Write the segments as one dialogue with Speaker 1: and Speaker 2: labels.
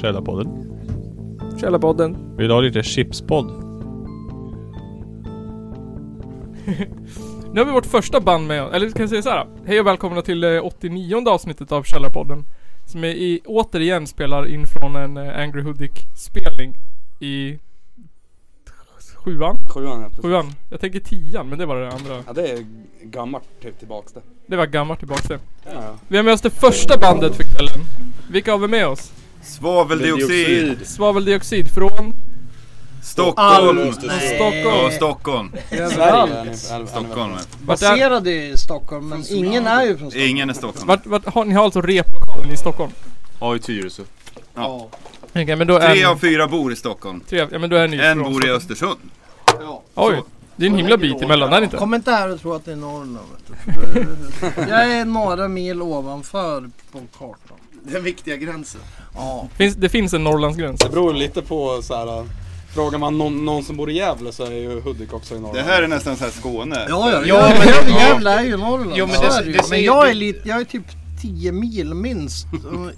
Speaker 1: Källarpodden.
Speaker 2: Källarpodden.
Speaker 1: Vill du ha lite chipspodd?
Speaker 2: Nu har vi vårt första band med Eller kan jag säga så här? Hej och välkomna till eh, 89 avsnittet av Källarpodden. Som är i, återigen spelar in från en eh, Angry Hoodic-spelning i sjuan.
Speaker 3: Sjuan ja, precis.
Speaker 2: Sjuan. Jag tänker tian, men det var det andra.
Speaker 3: Ja det är gammalt typ tillbaks det.
Speaker 2: Det var gammalt tillbaks det.
Speaker 3: Ja, ja.
Speaker 2: Vi har med oss det första bandet för kvällen. Vilka har vi med oss?
Speaker 4: Svaveldioxid,
Speaker 2: Svaveldioxid från
Speaker 4: Stockholm
Speaker 2: Stockholm.
Speaker 4: Ja, Stockholm.
Speaker 3: Sverige är nu- är-
Speaker 4: Stockholm. ja.
Speaker 2: Vart är,
Speaker 5: baserade i Stockholm men ingen är ju från Stockholm.
Speaker 4: Ingen är Stockholm.
Speaker 2: vart, vart, har, ni har alltså replokalen i Stockholm?
Speaker 4: Ja, i Tyresö.
Speaker 5: Ja.
Speaker 2: Okej, men då är
Speaker 4: Tre
Speaker 2: ni-
Speaker 4: av fyra bor i Stockholm.
Speaker 2: tre, ja men då är ni
Speaker 4: En
Speaker 2: från
Speaker 4: bor i
Speaker 2: Stockholm.
Speaker 4: Östersund.
Speaker 5: Ja.
Speaker 2: Oj, det är en himla bit emellan, är det inte?
Speaker 5: Kom inte här och tro att det är Norrland vet du, för det- Jag är några mil ovanför på kartan.
Speaker 6: Den viktiga gränsen.
Speaker 5: Ja.
Speaker 2: Finns, det finns en Norrlandsgräns.
Speaker 3: Det beror lite på så här. äh, Frågar man någon, någon som bor i Gävle så är ju Hudik också i norr.
Speaker 4: Det här är nästan så här Skåne.
Speaker 5: Ja, ja,
Speaker 6: Ja, men-
Speaker 5: Gävle-
Speaker 6: ja.
Speaker 5: Gävle är ju Norrland.
Speaker 6: Jo, men
Speaker 5: så
Speaker 6: det-
Speaker 5: är ju.
Speaker 6: det
Speaker 5: men
Speaker 6: säger-
Speaker 5: jag är
Speaker 6: det-
Speaker 5: lite, jag är typ 10 mil minst.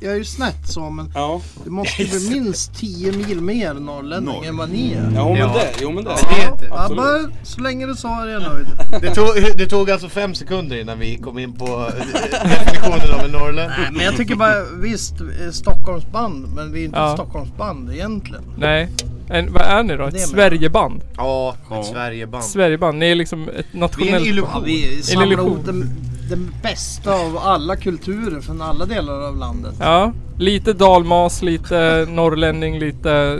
Speaker 5: Jag är ju snett så men
Speaker 3: Ja,
Speaker 5: det måste ju bli minst 10 mil mer norrlänning
Speaker 4: Norr.
Speaker 5: än vad ni är.
Speaker 3: ja, jo, men
Speaker 6: Ja.
Speaker 3: det, jo men det.
Speaker 6: Ja. vet det.
Speaker 5: Ja,
Speaker 3: Absolut.
Speaker 5: bara, så länge du sa det är jag nöjd.
Speaker 6: Det tog, det tog alltså fem sekunder innan vi kom in på eh, definitionen av en norrlänning.
Speaker 5: Nej, men jag tycker bara visst, eh, Stockholmsband men vi är inte
Speaker 2: Ja.
Speaker 5: ett Stockholmsband egentligen.
Speaker 2: Nej. En, vad är ni då?
Speaker 5: Det
Speaker 2: Ett
Speaker 5: är-
Speaker 2: Sverigeband?
Speaker 6: Ja,
Speaker 4: Ja.
Speaker 6: ett Sverigeband.
Speaker 2: Sverigeband, ni är liksom ett
Speaker 6: Vi är en
Speaker 2: nationellt...
Speaker 5: Ja,
Speaker 6: illusion.
Speaker 5: vi samlar
Speaker 2: illusion.
Speaker 5: ihop den, den bästa av alla kulturer från alla delar av landet.
Speaker 2: Ja, lite dalmas, lite norrlänning, lite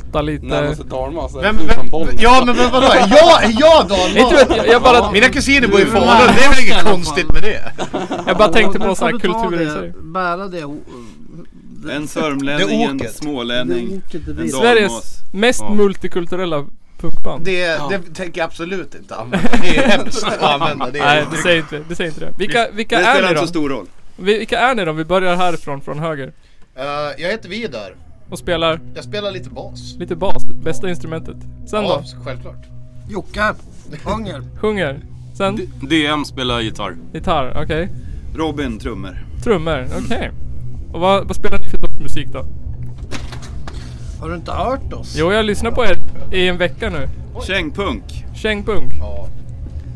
Speaker 2: 08, lite...
Speaker 3: Närmaste Dalmas är
Speaker 6: Vem,
Speaker 3: alltså, du
Speaker 6: vem,
Speaker 3: från Bollnäs.
Speaker 6: ja men vad- vadå? Jag, är jag
Speaker 2: Inte vet
Speaker 6: dalmas?
Speaker 2: jag, jag bara,
Speaker 6: Mina kusiner bor i
Speaker 5: Du är
Speaker 6: Falun,
Speaker 5: dalmas
Speaker 6: det är väl
Speaker 5: i alla
Speaker 6: inget
Speaker 5: fall.
Speaker 6: konstigt med det?
Speaker 2: jag bara tänkte
Speaker 5: Nu
Speaker 2: på
Speaker 5: får
Speaker 2: så här
Speaker 5: du ta
Speaker 2: kulturer i
Speaker 5: det-
Speaker 2: sig.
Speaker 5: Bära det, o- det,
Speaker 4: En
Speaker 6: Det
Speaker 4: sörmlänning, en
Speaker 6: åket.
Speaker 5: det
Speaker 4: smålänning,
Speaker 5: orket det
Speaker 4: en
Speaker 5: blir.
Speaker 2: dag. Sveriges-
Speaker 4: dalmas.
Speaker 2: Mest
Speaker 4: Ja.
Speaker 2: multikulturella punkband.
Speaker 6: Det, det tänker jag absolut inte använda. Det är hemskt att använda det.
Speaker 2: Nej, det säger inte det. Säger inte det. Vilka, vilka
Speaker 4: Det
Speaker 2: är
Speaker 4: spelar
Speaker 2: ni
Speaker 4: inte så
Speaker 2: då?
Speaker 4: stor roll.
Speaker 2: Vilka är ni då? Vi börjar härifrån, från höger.
Speaker 6: Eh, jag heter Vidar.
Speaker 2: Och spelar
Speaker 6: Jag spelar lite bas.
Speaker 2: lite bas, bästa instrumentet. Sen
Speaker 6: Ja,
Speaker 2: då?
Speaker 6: självklart.
Speaker 5: Jocke, Ånger.
Speaker 2: Sjunger. Sen?
Speaker 7: DM spelar gitarr.
Speaker 2: Gitarr, okej.
Speaker 4: Robin trummor.
Speaker 2: Trummor, okej. Och vad, vad spelar ni för sorts musik då?
Speaker 5: Har du inte hört oss?
Speaker 2: Jo, jag lyssnar på er i en vecka nu.
Speaker 4: Kängpunk.
Speaker 2: Kängpunk.
Speaker 6: Ja.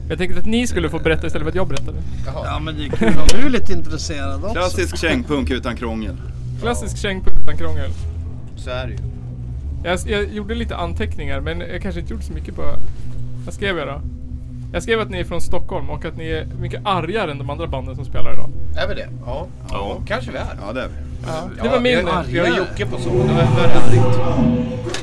Speaker 2: Jag tänkte att ni skulle få berätta istället för att jag berättade.
Speaker 5: Ja men det är kul om du är lite intresserad också.
Speaker 4: Klassisk kängpunk utan krångel.
Speaker 2: Klassisk kängpunk utan krångel.
Speaker 6: Så är det ju.
Speaker 2: Jag, jag gjorde lite anteckningar, men jag kanske inte gjorde så mycket på... Vad skrev jag då? Jag skrev att ni är från Stockholm och att ni är mycket argare än de andra banden som spelar idag.
Speaker 6: Är vi det? Ja. ja. Kanske vi är.
Speaker 4: Ja det är vi.
Speaker 2: Det var min...
Speaker 6: Ja, vi har ju Jocke på så.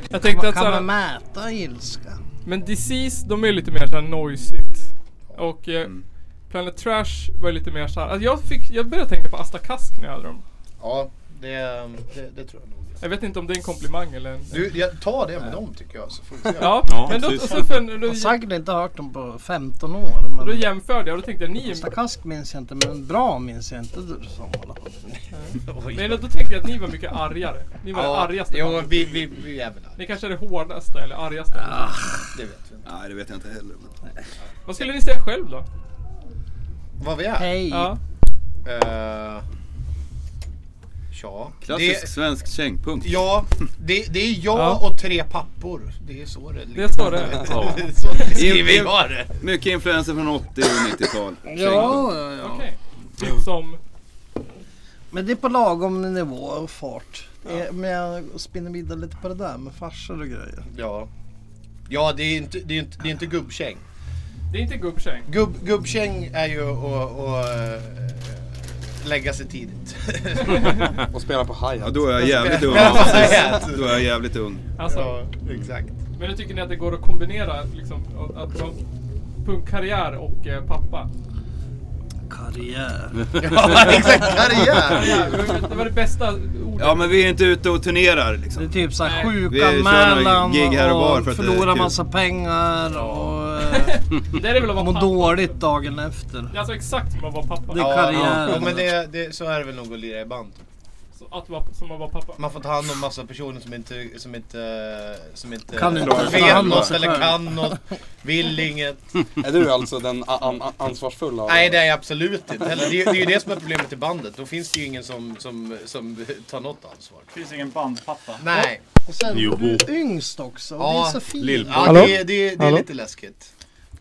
Speaker 2: Jag tänkte att
Speaker 5: Kan man
Speaker 2: såhär,
Speaker 5: mäta ilska?
Speaker 2: Men Disease, de är lite mer såhär noisigt. Och eh, Planet Trash var lite mer såhär... Alltså jag fick... Jag började tänka på Asta Kask när jag hade dem.
Speaker 6: Ja, det, ehm, det, det tror jag nog.
Speaker 2: Jag vet inte om det är en komplimang eller en...
Speaker 6: Du, jag tar det med dem tycker jag så får vi se.
Speaker 2: Ja,
Speaker 7: Ja,
Speaker 2: men då, och
Speaker 7: precis.
Speaker 2: så för, då,
Speaker 5: Jag har säkert inte hört dem på 15 år. Men...
Speaker 2: då jämförde jag och då tänkte jag ni är,
Speaker 5: Stakask minns jag inte, men bra minns jag inte du som i alla fall.
Speaker 2: men då tänkte jag att ni var mycket argare. Ni var det argaste
Speaker 6: Jo,
Speaker 2: bandet.
Speaker 6: vi, vi, vi är väl där.
Speaker 2: Ni kanske är det hårdaste eller argaste.
Speaker 6: Det vet vi inte.
Speaker 4: Nej det vet jag inte heller. men-
Speaker 2: Vad skulle ni säga själv då?
Speaker 6: Vad vi är?
Speaker 5: Hej!
Speaker 2: Ja.
Speaker 6: Eh, ja.
Speaker 4: Klassisk
Speaker 6: Det,
Speaker 4: svensk kängpunk.
Speaker 6: ja, det, det är jag
Speaker 2: Ja.
Speaker 6: och tre pappor. Det är så det
Speaker 2: Det står det.
Speaker 7: Ja.
Speaker 6: Det är så det skriver
Speaker 4: Inte-
Speaker 6: jag det.
Speaker 4: Mycket influenser från 80 och 90-tal. Kängpunk.
Speaker 5: Ja, ja, ja.
Speaker 2: Okej. Typ som...
Speaker 5: Men det är på lagom nivå och fart. Det är- Men jag spinner vidare lite på det där med farsor och grejer.
Speaker 6: Ja. Ja, det är inte, det är inte, det är inte gubbkäng.
Speaker 2: Det är inte gubbkäng.
Speaker 6: Gubb, gubbkäng är ju att att, eh, lägga sig tidigt.
Speaker 3: Och spelar på hi
Speaker 4: Ja då är jag jävligt ung.
Speaker 6: Ja, precis.
Speaker 4: Då är jag jävligt ung.
Speaker 2: Alltså.
Speaker 6: Ja, exakt.
Speaker 2: Men då tycker ni att det går att kombinera liksom att, att ha punkkarriär och eh, pappa?
Speaker 5: Karriär.
Speaker 6: Ja, exakt. Karriär.
Speaker 2: Ja, det var det bästa ordet.
Speaker 4: Ja men vi är inte ute och turnerar
Speaker 5: Det är
Speaker 4: liksom.
Speaker 5: typ såhär
Speaker 2: Nej.
Speaker 4: Vi kör
Speaker 5: sjukanmälan
Speaker 4: några gig här och var
Speaker 5: och,
Speaker 4: för att det är
Speaker 5: förlora
Speaker 4: kul.
Speaker 5: massa pengar och eh,
Speaker 2: Det är det väl att vara
Speaker 5: må
Speaker 2: pappa?
Speaker 5: dåligt dagen efter.
Speaker 2: Det är alltså exakt som att vara pappa.
Speaker 5: Det-
Speaker 6: Ja,
Speaker 5: karriär.
Speaker 6: ja, men det, det, så är det väl nog att lira i band.
Speaker 2: Så att vara, som att vara pappa.
Speaker 6: Man får ta hand om massa personer som inte, som inte, eh, som inte
Speaker 5: Kan inte
Speaker 4: ta
Speaker 6: vet
Speaker 4: hand om
Speaker 6: något
Speaker 5: sig
Speaker 6: eller
Speaker 5: själv.
Speaker 6: kan något, vill inget.
Speaker 3: Är du alltså den a- an- a- ansvarsfulla? av-
Speaker 6: Nej det är jag absolut inte heller. Det, är- det är ju det som är problemet i bandet. Då finns det ju ingen som, som, som tar något ansvar.
Speaker 1: finns ingen bandpappa.
Speaker 6: Nej.
Speaker 5: Och sen
Speaker 7: Jo.
Speaker 5: du är yngst också. Och
Speaker 6: Ja,
Speaker 5: det är så fint.
Speaker 7: lill-
Speaker 6: Ja,
Speaker 2: Hallå?
Speaker 6: det, är- det, är- det är
Speaker 2: Hallå?
Speaker 6: lite läskigt.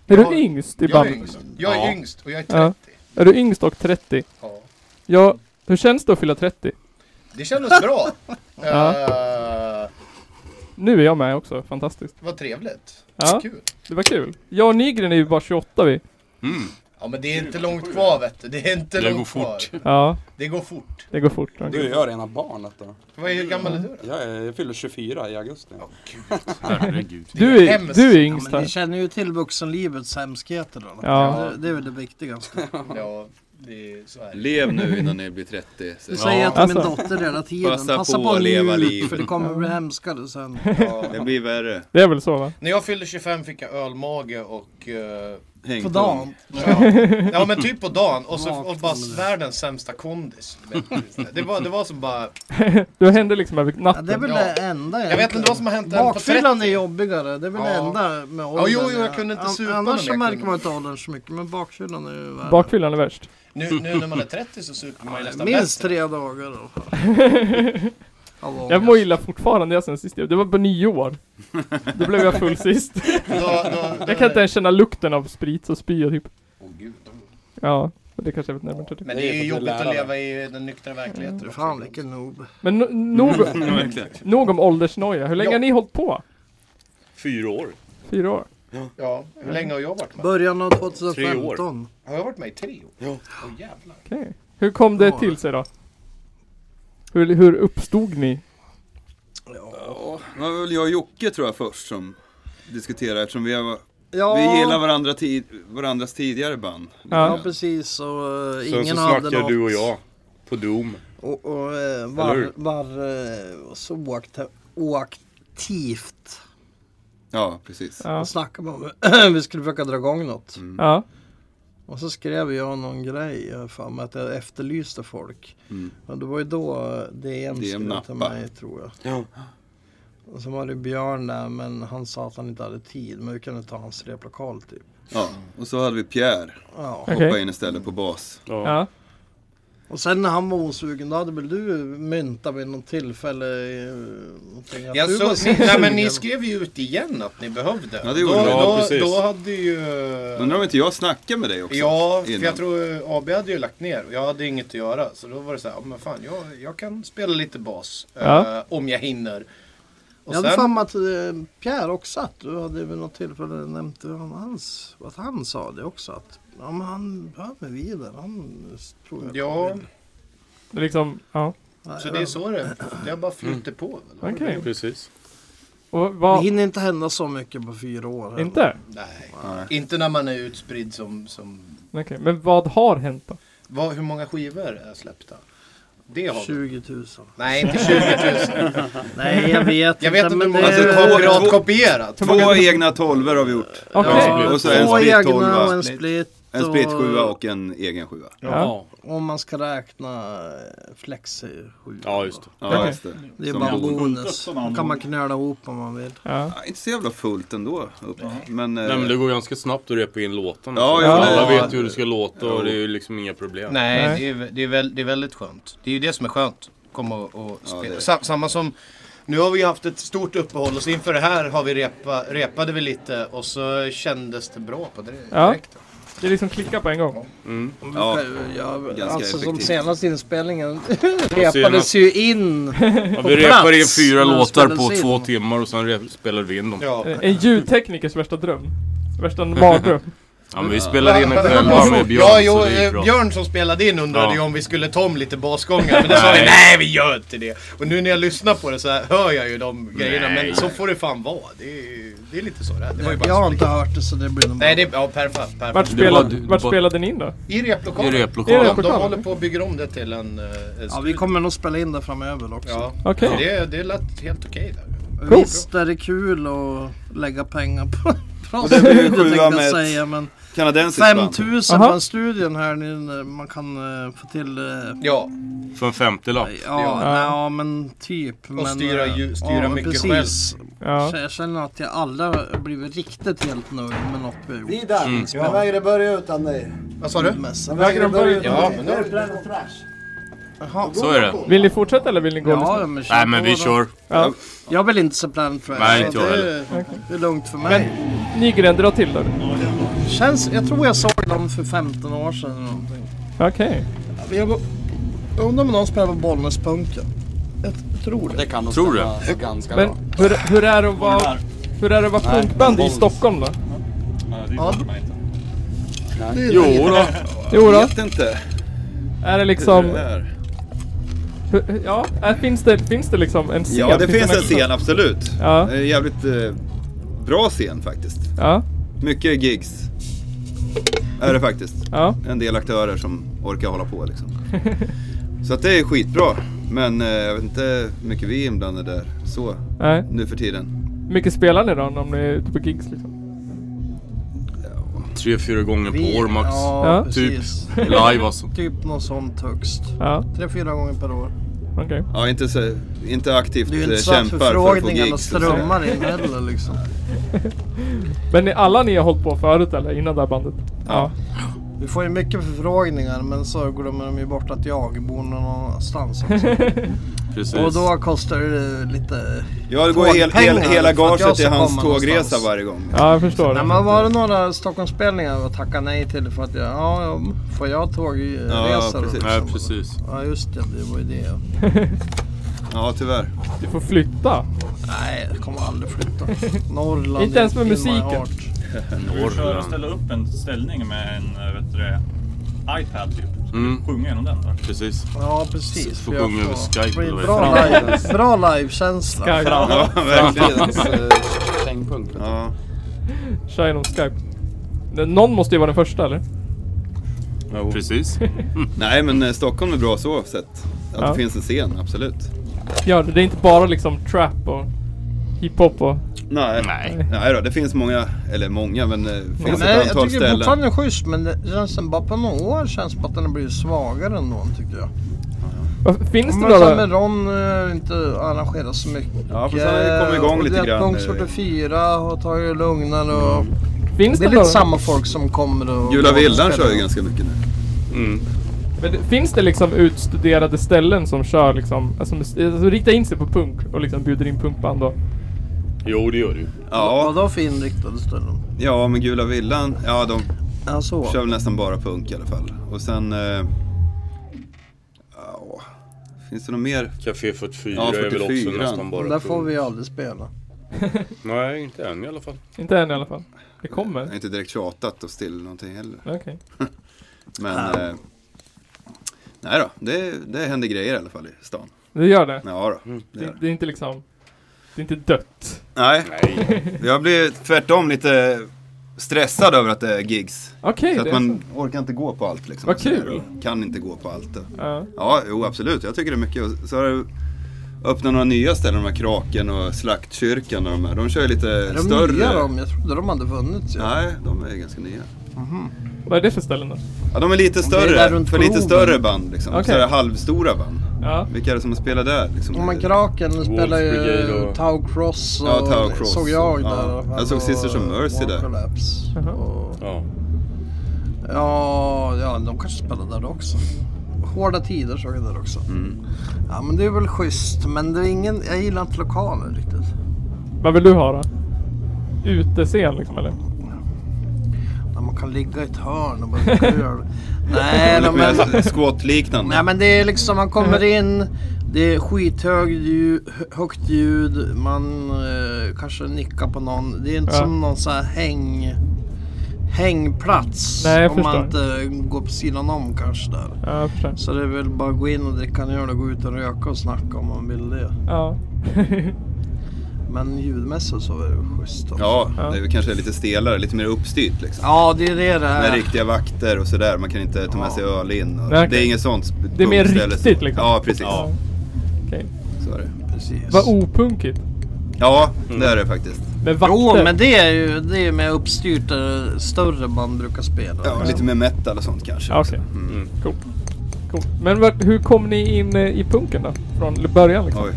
Speaker 2: Är
Speaker 6: Jag-
Speaker 2: du yngst i
Speaker 6: Jag är
Speaker 2: bandet?
Speaker 6: yngst. Jag är
Speaker 7: Ja.
Speaker 6: yngst och jag är
Speaker 2: Ja.
Speaker 6: 30.
Speaker 2: Är du yngst och 30?
Speaker 6: Ja.
Speaker 2: Ja, hur känns det att fylla 30?
Speaker 6: Det kändes bra.
Speaker 2: Ja.
Speaker 6: Eh,
Speaker 2: Nu är jag med också, fantastiskt.
Speaker 6: vad trevligt.
Speaker 2: Ja,
Speaker 6: Kul.
Speaker 2: det var kul. Jag och Nygren är ju bara 28 vi.
Speaker 7: Mm.
Speaker 6: Ja men det är inte långt kvar vet du. Det är inte
Speaker 7: Det går
Speaker 6: långt kvar.
Speaker 7: fort.
Speaker 2: Ja,
Speaker 6: Det går fort.
Speaker 2: det går fort.
Speaker 3: Du är ju rena barnet då.
Speaker 6: Vad är hur gammal är du då?
Speaker 3: Jag, är, jag fyller 24 i augusti.
Speaker 7: Herregud.
Speaker 2: Du
Speaker 6: Det är
Speaker 2: är,
Speaker 6: hemskt.
Speaker 2: du är
Speaker 5: Ja,
Speaker 2: yngst
Speaker 5: men ni
Speaker 2: här.
Speaker 5: känner ju till vuxenlivets hemskheter då.
Speaker 2: Ja.
Speaker 5: Det, det är väl det viktigaste.
Speaker 6: Ja, det är så här.
Speaker 4: Lev nu innan ni blir 30. Så.
Speaker 5: Du säger jag till min
Speaker 2: Alltså.
Speaker 5: dotter hela tiden.
Speaker 4: Passa
Speaker 5: Passa,
Speaker 4: på
Speaker 5: på,
Speaker 4: att
Speaker 5: att
Speaker 4: leva
Speaker 5: njut,
Speaker 4: livet.
Speaker 5: för det kommer bli hemskare sen.
Speaker 6: Ja.
Speaker 4: Det blir värre.
Speaker 2: Det är väl så va?
Speaker 6: När jag fyllde 25 fick jag ölmage och... eh,
Speaker 4: Häng
Speaker 5: På
Speaker 4: på.
Speaker 5: dagen.
Speaker 6: ja. ja men typ på dagen och, så, och bara
Speaker 5: Vaknade.
Speaker 6: världens sämsta kondis. Det var, det var som bara...
Speaker 2: Du hände liksom över
Speaker 5: Ja, det är
Speaker 2: natten.
Speaker 5: väl
Speaker 6: Ja.
Speaker 5: det enda
Speaker 6: Jag vet inte vad som har hänt än på
Speaker 5: Bakfyllan är
Speaker 6: 30.
Speaker 5: jobbigare, det är väl det
Speaker 6: Ja.
Speaker 5: enda med åldern.
Speaker 6: Ja, jo, jo, jag kunde inte
Speaker 5: An-
Speaker 6: supa
Speaker 5: Annars
Speaker 6: men
Speaker 5: så
Speaker 6: jag
Speaker 5: märker
Speaker 6: kunde.
Speaker 5: man inte åldern så mycket, men bakfyllan är ju värre.
Speaker 2: Bakfyllan är värst.
Speaker 6: Nu, nu när man är 30 så super man ju nästan
Speaker 5: Minst
Speaker 6: bäst.
Speaker 5: tre dagar i alla fall. Av ångest.
Speaker 2: Jag mår illa fortfarande sen sist. Det var på nyår. Då blev jag full sist.
Speaker 6: Då, då, då,
Speaker 2: Jag kan inte ens känna lukten av sprit och spya typ.
Speaker 6: Åh, gud.
Speaker 2: Ja, men det kanske är närmare till.
Speaker 6: Men det är
Speaker 3: Det är
Speaker 6: ju
Speaker 3: för att
Speaker 6: jobbigt
Speaker 3: lära
Speaker 6: att
Speaker 3: dig.
Speaker 6: leva i den nyktra verkligheten. också.
Speaker 5: Mm. Fan vilken noob.
Speaker 2: Men no- nog,
Speaker 4: Verkligen.
Speaker 2: nog om åldersnoja. Hur länge
Speaker 6: Ja.
Speaker 2: har ni hållit på?
Speaker 7: Fyra år.
Speaker 2: Fyra år?
Speaker 6: Ja, hur länge har jag varit med?
Speaker 5: Början av 2015.
Speaker 6: Har jag varit med i tre år? Ja. Åh jävlar.
Speaker 2: Okej. Hur kom det
Speaker 5: Ja.
Speaker 2: till sig då? Hur, hur uppstod ni?
Speaker 4: Ja, det var väl jag och Jocke tror jag först som diskuterade eftersom vi, har,
Speaker 5: Ja,
Speaker 4: vi gillar varandra tid, varandras tidigare band.
Speaker 5: ja
Speaker 2: Ja.
Speaker 5: precis och eh,
Speaker 7: Sen så
Speaker 5: ingen hade
Speaker 7: snackade
Speaker 5: något.
Speaker 7: du och jag på Doom.
Speaker 5: Och, och eh,
Speaker 7: Eller
Speaker 5: var,
Speaker 7: hur?
Speaker 5: var eh, så oakta- oaktivt.
Speaker 4: Ja, precis.
Speaker 2: Ja.
Speaker 5: Då snackade man om vi skulle försöka dra igång något.
Speaker 2: Ja.
Speaker 5: Och så skrev jag någon grej jag har för mig att jag efterlyste folk.
Speaker 4: Mm.
Speaker 5: Och det var ju då DM
Speaker 4: DM
Speaker 5: skrev till
Speaker 4: nappa.
Speaker 5: mig tror jag.
Speaker 7: Ja.
Speaker 5: Och så var det Björn där men han sa att han inte hade tid men vi kunde ta hans replokal typ.
Speaker 4: Ja, och så hade vi Pierre
Speaker 5: Ja.
Speaker 2: Okej.
Speaker 4: hoppa in istället på bas.
Speaker 2: Ja.
Speaker 5: Och sen när han var osugen då hade väl du myntat vid något tillfälle eh, någonting, att
Speaker 6: Jag
Speaker 5: du var
Speaker 6: så,
Speaker 5: sugen.
Speaker 6: ni, nej, men ni skrev ju ut igen att ni behövde.
Speaker 4: Ja, det gjorde
Speaker 6: då,
Speaker 4: vi.
Speaker 7: Ja,
Speaker 6: då,
Speaker 7: precis.
Speaker 6: då hade ju...
Speaker 4: Undrar om inte jag snackade med dig också?
Speaker 6: Ja, för
Speaker 4: innan.
Speaker 6: jag tror AB hade ju lagt ner och jag hade inget att göra. Så då var det så här, ja, men fan jag, jag kan spela lite bas.
Speaker 2: Ja.
Speaker 6: eh, om jag hinner. Och
Speaker 5: Jag hade
Speaker 6: sen-
Speaker 5: för mig att eh, Pierre också att du hade vid något tillfälle nämnt hur han, hans, att han sa det också. Att ja, men han behöver vidare. Han tror jag.
Speaker 6: Ja,
Speaker 2: Det är Liksom, ja.
Speaker 5: Nej,
Speaker 6: så det är så det Det har
Speaker 5: Mm.
Speaker 6: bara flyter på. Väl?
Speaker 2: Okej.
Speaker 7: Precis.
Speaker 2: Och
Speaker 5: Det
Speaker 2: vad...
Speaker 5: hinner inte hända så mycket på fyra år. heller.
Speaker 2: Inte?
Speaker 6: Nej,
Speaker 4: Nej.
Speaker 6: inte när man är utspridd som... som
Speaker 2: Okej, men vad har hänt då?
Speaker 6: vad, hur många skivor är släppta? Det har vi.
Speaker 5: 20 000.
Speaker 6: Nej, inte 20 000.
Speaker 5: Nej, jag vet
Speaker 6: Jag vet
Speaker 5: inte.
Speaker 6: inte hur
Speaker 5: men det
Speaker 6: många
Speaker 4: Alltså,
Speaker 5: är-
Speaker 6: som
Speaker 4: två-
Speaker 6: har
Speaker 4: två-
Speaker 6: piratkopierat.
Speaker 4: Två egna tolvor har vi gjort.
Speaker 2: Okej.
Speaker 5: Ja,
Speaker 4: Och så en
Speaker 5: två
Speaker 4: split
Speaker 5: egna
Speaker 4: tolva.
Speaker 5: och en split.
Speaker 4: En split sjua och en egen sjua.
Speaker 2: Ja.
Speaker 5: Om man ska räkna eh, flexi 7.
Speaker 7: Ja, just det.
Speaker 4: Ja,
Speaker 2: Okej.
Speaker 4: just det.
Speaker 5: Det är
Speaker 4: Som-
Speaker 5: bara en
Speaker 1: bonus.
Speaker 5: bonus. Då kan man knöla ihop om man vill.
Speaker 2: Ja.
Speaker 4: Ja, inte så jävla fullt ändå. Upp. Men, eh,
Speaker 7: Nej men det går ganska snabbt att repa in låtarna.
Speaker 4: Ja,
Speaker 7: Så
Speaker 4: ja,
Speaker 7: Alla
Speaker 6: det-
Speaker 7: vet ju hur det ska låta och det är ju liksom inga problem.
Speaker 6: Nej,
Speaker 2: Nej.
Speaker 6: Det, är, det, är väl, det är väldigt skönt. Det är ju det som är skönt. Komma och, och
Speaker 4: Ja,
Speaker 6: spela.
Speaker 4: det-
Speaker 6: Sa, samma som, nu har vi haft ett stort uppehåll och så inför det här har vi repa, repade vi lite och så kändes det bra på det
Speaker 2: Ja.
Speaker 6: direkt.
Speaker 2: Det är liksom klicka på en gång.
Speaker 7: Mm.
Speaker 4: Ja,
Speaker 5: Ja,
Speaker 4: ganska
Speaker 5: alltså som
Speaker 4: effektivt.
Speaker 5: senaste inspelningen repades ju in.
Speaker 7: Ja,
Speaker 5: På
Speaker 7: vi repar in
Speaker 5: plats när
Speaker 7: fyra
Speaker 5: de
Speaker 7: låtar på
Speaker 5: spelades
Speaker 7: två
Speaker 5: in.
Speaker 7: timmar och sen rep- spelade vi in dem.
Speaker 6: Ja.
Speaker 2: Eh, En ljudteknikers värsta dröm. Värsta mardröm.
Speaker 7: Ja men vi spelade in en kväll bara med Björn
Speaker 6: ja, jo,
Speaker 7: så det gick
Speaker 6: eh,
Speaker 7: bra.
Speaker 6: Björn som spelade in undrade
Speaker 7: Ja.
Speaker 6: ju om vi skulle ta om lite basgångar men det sa vi
Speaker 7: Nej.
Speaker 6: nej vi gör inte det. Och nu när jag lyssnar på det så här hör jag ju de grejerna men
Speaker 7: Nej.
Speaker 6: så får det fan vara. Det är, ju- det är lite så det är. Det var ju bara
Speaker 5: Jag har
Speaker 6: så-
Speaker 5: inte hört det så det blir nog
Speaker 6: Nej
Speaker 5: bra.
Speaker 6: det är, ja perfekt. perfekt.
Speaker 2: Vart,
Speaker 7: Det var
Speaker 2: spelade,
Speaker 7: du- det
Speaker 2: vart
Speaker 7: var-
Speaker 2: spelade ni in då?
Speaker 6: I
Speaker 7: I
Speaker 6: replokalen.
Speaker 2: I
Speaker 7: replokalen.
Speaker 6: De, de
Speaker 2: replokalen.
Speaker 6: håller på att bygga om det till en... eh, en
Speaker 5: Ja, vi
Speaker 6: studio.
Speaker 5: kommer nog spela in det framöver också.
Speaker 6: Ja.
Speaker 2: Okej.
Speaker 6: Det, det lät helt okej där.
Speaker 5: Visst är det kul att lägga pengar på, på
Speaker 4: det blir ju
Speaker 5: studio,
Speaker 4: sjua
Speaker 5: tänkte jag
Speaker 4: med ett-
Speaker 5: säga. Men
Speaker 4: Kanadensiskt band.
Speaker 5: 5000
Speaker 2: Aha.
Speaker 5: bland studien här, ni- man kan eh, få till... eh,
Speaker 6: Ja,
Speaker 7: För en femtiolapp.
Speaker 5: Ja,
Speaker 2: Ja.
Speaker 5: nej, ja men typ.
Speaker 6: och
Speaker 5: men,
Speaker 6: styra,
Speaker 5: eh,
Speaker 6: ju, styra
Speaker 5: ja,
Speaker 6: mycket
Speaker 5: precis.
Speaker 6: själv.
Speaker 2: Ja.
Speaker 5: Så Jag känner att jag aldrig har blivit riktigt helt nöjd med något vi har gjort. Mm.
Speaker 1: Ida, jag vägrar börja utan dig.
Speaker 6: Vad sa du?
Speaker 5: Mässan.
Speaker 1: Jag vägrar börja utan
Speaker 6: Ja,
Speaker 1: dig.
Speaker 6: men
Speaker 1: Det är brand och trash.
Speaker 5: Jaha.
Speaker 7: Så är det.
Speaker 2: Vill ni fortsätta eller vill ni gå och lyssna?
Speaker 5: Ja, men kör
Speaker 7: Nej men
Speaker 5: på
Speaker 7: vi
Speaker 5: då.
Speaker 7: kör.
Speaker 2: Ja.
Speaker 5: Jag vill inte se Planet Trash.
Speaker 7: Nej, inte jag
Speaker 5: det, är, det är lugnt för mig.
Speaker 2: Nygren, dra till där.
Speaker 5: Känns, jag tror jag såg dem för 15 år sedan eller någonting.
Speaker 2: Okej.
Speaker 5: Jag var- jag undrar om någon spelar på Bollnäspunken. Jag tror det.
Speaker 3: Det kan nog
Speaker 7: Tror du?
Speaker 3: stämma ganska
Speaker 2: Men
Speaker 3: bra.
Speaker 2: hur, hur är det att vara... Hur är det att vara
Speaker 3: Nej,
Speaker 2: punkband i
Speaker 3: Bollnäs.
Speaker 2: Stockholm då?
Speaker 5: Ja,
Speaker 7: Jo då.
Speaker 2: Jo då,
Speaker 4: Vet inte.
Speaker 2: är det
Speaker 4: Som...
Speaker 2: liksom... hur- Ja, är, finns, det, finns det liksom en scen?
Speaker 4: Ja, det finns en
Speaker 2: extra-
Speaker 4: scen absolut.
Speaker 2: Ja.
Speaker 4: Det är en jävligt eh, bra scen faktiskt.
Speaker 2: Ja,
Speaker 4: Mycket gigs. Är det faktiskt.
Speaker 2: ja.
Speaker 4: En del aktörer som orkar hålla på liksom. Så att det är skitbra. Men eh, jag vet inte hur mycket vi är inblandade där. Så.
Speaker 2: Nej.
Speaker 4: Nu för tiden.
Speaker 2: Hur mycket spelar ni då om ni är ute på gigs liksom?
Speaker 7: Tre, fyra gånger på år max.
Speaker 5: Ja,
Speaker 2: Ja.
Speaker 5: precis.
Speaker 7: Live alltså.
Speaker 5: Typ något sånt högst.
Speaker 2: Ja,
Speaker 5: Tre, fyra gånger per år.
Speaker 2: okej.
Speaker 4: Ja, inte, så, inte aktivt
Speaker 5: Det är ju inte
Speaker 4: eh,
Speaker 5: så att
Speaker 4: kämpar för att få
Speaker 5: förfrågningarna
Speaker 4: gigs. och sådär.
Speaker 5: strömmar in heller liksom.
Speaker 2: Men ni, alla ni har hållit på förut eller? Innan det här bandet? Ja.
Speaker 5: Vi får ju mycket förfrågningar men så glömmer de ju bort att jag bor någon annanstans också.
Speaker 7: Precis.
Speaker 5: Och då kostar det lite...
Speaker 4: Ja, det går hel, hel,
Speaker 5: Tågpengar, för
Speaker 4: hela
Speaker 5: att jag
Speaker 4: gaget
Speaker 5: ska
Speaker 4: till hans
Speaker 5: komma
Speaker 4: tågresa
Speaker 5: någonstans.
Speaker 4: varje gång.
Speaker 2: Ja, jag förstår.
Speaker 5: Nej men var det några Stockholmsspelningar jag tackade nej till för att jag, ja ja, får jag
Speaker 4: Ja,
Speaker 5: tågresor?
Speaker 4: precis.
Speaker 5: liksom?
Speaker 7: Nej precis.
Speaker 5: Ja just det, det var ju det.
Speaker 4: Ja, tyvärr.
Speaker 2: Du får flytta.
Speaker 5: Nej, jag kommer aldrig flytta. Norrland
Speaker 2: Inte ens med
Speaker 5: in my
Speaker 2: musiken.
Speaker 5: heart.
Speaker 8: Du kör ställa upp en ställning med en eh, vet du, det, iPad typ. Så
Speaker 7: Mm.
Speaker 8: du sjunger genom den där.
Speaker 7: Precis.
Speaker 5: Ja precis.
Speaker 7: Får
Speaker 5: för jag
Speaker 7: sjunga över Skype
Speaker 5: det blir
Speaker 7: eller vad
Speaker 5: Bra live, bra livekänsla.
Speaker 2: Skype.
Speaker 4: Ja, verkligen.
Speaker 3: Fridens eh, kängpunkt.
Speaker 4: Ja.
Speaker 2: Kör genom Skype. Någon måste ju vara den första eller?
Speaker 7: Precis.
Speaker 4: Nej, men eh, Stockholm är bra så sett. Att
Speaker 2: Ja.
Speaker 4: det finns en scen, absolut.
Speaker 2: Ja, det är inte bara liksom trap och hiphop och...
Speaker 4: Nej.
Speaker 7: Nej.
Speaker 4: Nej då, det finns många, eller många, men det
Speaker 5: Ja,
Speaker 4: finns
Speaker 5: Nej,
Speaker 4: ett
Speaker 5: jag
Speaker 4: antal
Speaker 5: tycker
Speaker 4: ställen.
Speaker 5: fortfarande den är schysst men det känns den bara på några år känns det på att den har blivit svagare ändå tycker jag.
Speaker 2: Vad- Finns det
Speaker 5: Men sen
Speaker 2: några...
Speaker 5: med Ron eh, inte arrangerat så mycket.
Speaker 4: Ja, för sen har det kommit igång
Speaker 5: Och
Speaker 4: lite
Speaker 5: det är
Speaker 4: grann
Speaker 5: Punkt
Speaker 4: nu.
Speaker 5: 44 och tagit det lugnare och...
Speaker 2: Finns
Speaker 5: Det är
Speaker 2: det,
Speaker 5: lite
Speaker 2: några...
Speaker 5: samma folk som kommer och...
Speaker 4: Gula Villan kör ju ganska mycket nu.
Speaker 2: Men det- finns det liksom utstuderade ställen som kör liksom... Alltså, mus- alltså riktar in sig på punk och liksom bjuder in punkband och...
Speaker 7: Jo det gör du.
Speaker 5: Ja.
Speaker 4: Ja,
Speaker 5: Vadå för inriktade ställen?
Speaker 4: ja men Gula Villan, ja de
Speaker 5: Ja, så.
Speaker 4: kör väl nästan bara punk i alla fall. Och sen... Eh, ja, finns det något mer?
Speaker 7: Café 44
Speaker 4: Ja,
Speaker 7: är väl
Speaker 4: 44.
Speaker 7: också nästan bara
Speaker 5: Där får
Speaker 7: punk.
Speaker 5: vi aldrig spela.
Speaker 7: Nej inte än i alla fall.
Speaker 2: Inte än i alla fall. Det
Speaker 4: Jag har
Speaker 2: kommer.
Speaker 4: inte direkt tjatat och still någonting heller.
Speaker 2: Okej.
Speaker 4: Men... Eh, nej då, det, det händer grejer i alla fall i stan.
Speaker 2: Det gör det.
Speaker 4: Ja då,
Speaker 5: Mm.
Speaker 4: det gör
Speaker 2: Det,
Speaker 4: det.
Speaker 2: det är inte liksom... Det är inte dött.
Speaker 4: Nej,
Speaker 7: Nej.
Speaker 4: jag blir tvärtom lite stressad över att det är gigs.
Speaker 2: Okej,
Speaker 4: Så
Speaker 2: det
Speaker 4: att
Speaker 2: är så.
Speaker 4: man orkar inte gå på allt liksom.
Speaker 2: Vad
Speaker 4: Så där,
Speaker 2: kul.
Speaker 4: och Kan inte gå på allt. och-
Speaker 2: Ja.
Speaker 4: Ja, jo absolut. Jag tycker det är mycket. Och Så har det öppnat några nya ställen, de här Kraken och Slaktkyrkan och de här. De kör ju lite
Speaker 5: Är de
Speaker 4: större.
Speaker 5: nya de? Jag trodde de hade funnits. Ja.
Speaker 4: Nej, de är ganska nya.
Speaker 2: Vad är det för ställen då?
Speaker 4: Ja, de är lite
Speaker 5: är
Speaker 4: större.
Speaker 5: där runt
Speaker 4: för lite
Speaker 5: Globen.
Speaker 4: större band liksom.
Speaker 2: Okej.
Speaker 4: Så här halvstora band.
Speaker 2: Ja.
Speaker 4: Vilka är det som spelar där? Liksom?
Speaker 5: Ja, men Kraken spelar ju
Speaker 7: Brigade och-
Speaker 5: Tau Cross och
Speaker 4: Ja, Tau Cross
Speaker 5: såg jag
Speaker 4: och- ja.
Speaker 5: där.
Speaker 4: Jag såg Sisters of Mercy där.
Speaker 5: Collapse.
Speaker 2: Jaha.
Speaker 5: Och,
Speaker 7: Ja.
Speaker 5: ja, ja, de kanske spelar där också. Hårda tider såg jag där också.
Speaker 4: Mm.
Speaker 5: Ja, men det är väl schysst. Men det är ingen, jag gillar inte lokalen riktigt.
Speaker 2: Vad vill du ha då? Utescen liksom eller?
Speaker 5: När man kan ligga i ett hörn och bara köra. Nej,
Speaker 4: Lite
Speaker 5: de är,
Speaker 4: mer skåtliknande.
Speaker 5: Nej men det är liksom, man kommer
Speaker 2: Mm.
Speaker 5: in, det är skithög ljud, högt ljud, man eh, kanske nickar på någon. Det är inte
Speaker 2: Ja.
Speaker 5: som någon sån här häng, hängplats.
Speaker 2: Nej, jag
Speaker 5: om
Speaker 2: förstår.
Speaker 5: man inte går på sidan om kanske där.
Speaker 2: Ja, jag förstår.
Speaker 5: Så det är väl bara att gå in och dricka en öl och gå ut och röka och snacka om man vill det.
Speaker 2: Ja.
Speaker 5: Men ljudmässigt så är det schysst. också.
Speaker 4: Ja,
Speaker 2: Ja.
Speaker 4: det är väl kanske lite stelare, lite mer uppstyrt liksom.
Speaker 5: ja, det är det det
Speaker 2: Äh.
Speaker 4: Med
Speaker 5: är.
Speaker 4: riktiga vakter och sådär. Man kan inte ta med sig öl in. Och
Speaker 2: Nej, okej.
Speaker 4: Det är inget sånt.
Speaker 2: Det är mer
Speaker 4: punkställe som-
Speaker 2: riktigt, liksom.
Speaker 4: Ja, precis.
Speaker 2: Okej.
Speaker 4: Så är det.
Speaker 5: Precis.
Speaker 2: Vad opunkigt. Mm.
Speaker 4: Ja, det är det faktiskt.
Speaker 2: Med
Speaker 5: Jo,
Speaker 2: vakter.
Speaker 5: men det är ju det är med uppstyrt där större band brukar spela.
Speaker 4: Ja, lite mer metal och sånt kanske.
Speaker 2: Ja, Okej,
Speaker 4: Mm.
Speaker 2: coolt. Coolt. Men vart, hur kom ni in eh, i punken då? Från början liksom?
Speaker 4: Oj.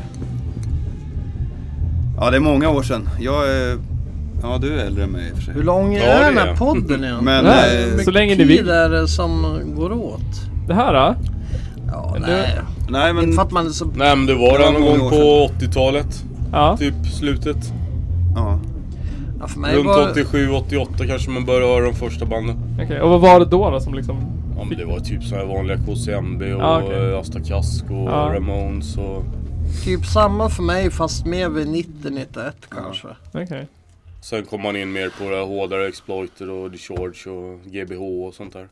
Speaker 4: Ja, det är många år sedan. Jag är... Ja, du är äldre än mig i och för sig.
Speaker 5: Hur lång
Speaker 7: Ja,
Speaker 5: är den
Speaker 7: det
Speaker 5: här
Speaker 7: är.
Speaker 5: podden egentligen?
Speaker 4: Men,
Speaker 2: Nej,
Speaker 4: eh,
Speaker 5: Hur mycket
Speaker 2: så länge ni
Speaker 5: tid
Speaker 2: vill.
Speaker 5: är det som går åt?
Speaker 2: Det här då?
Speaker 5: Ja,
Speaker 2: Eller-
Speaker 5: nej.
Speaker 4: Nej, men...
Speaker 5: Inte för att man är så...
Speaker 7: Nej men det var
Speaker 4: Det var
Speaker 7: det någon
Speaker 4: många
Speaker 7: gång
Speaker 4: år
Speaker 7: på 80-talet.
Speaker 2: Ja.
Speaker 7: Typ slutet.
Speaker 4: Ja.
Speaker 5: Ja, för mig
Speaker 7: Runt
Speaker 5: var...
Speaker 7: 87-88 kanske man började höra de första banden.
Speaker 2: Okej, och vad var det då då som liksom...
Speaker 7: Ja men det var typ såna här vanliga KCMB och
Speaker 2: Ja, okej.
Speaker 7: eh, Asta Kask och
Speaker 2: Ja.
Speaker 7: Ramones och...
Speaker 5: Typ samma för mig fast mer vid 90-91 kanske.
Speaker 2: Okej.
Speaker 7: Sen kom man in mer på det här hårdare Exploiter och The Charge och GBH och sånt där.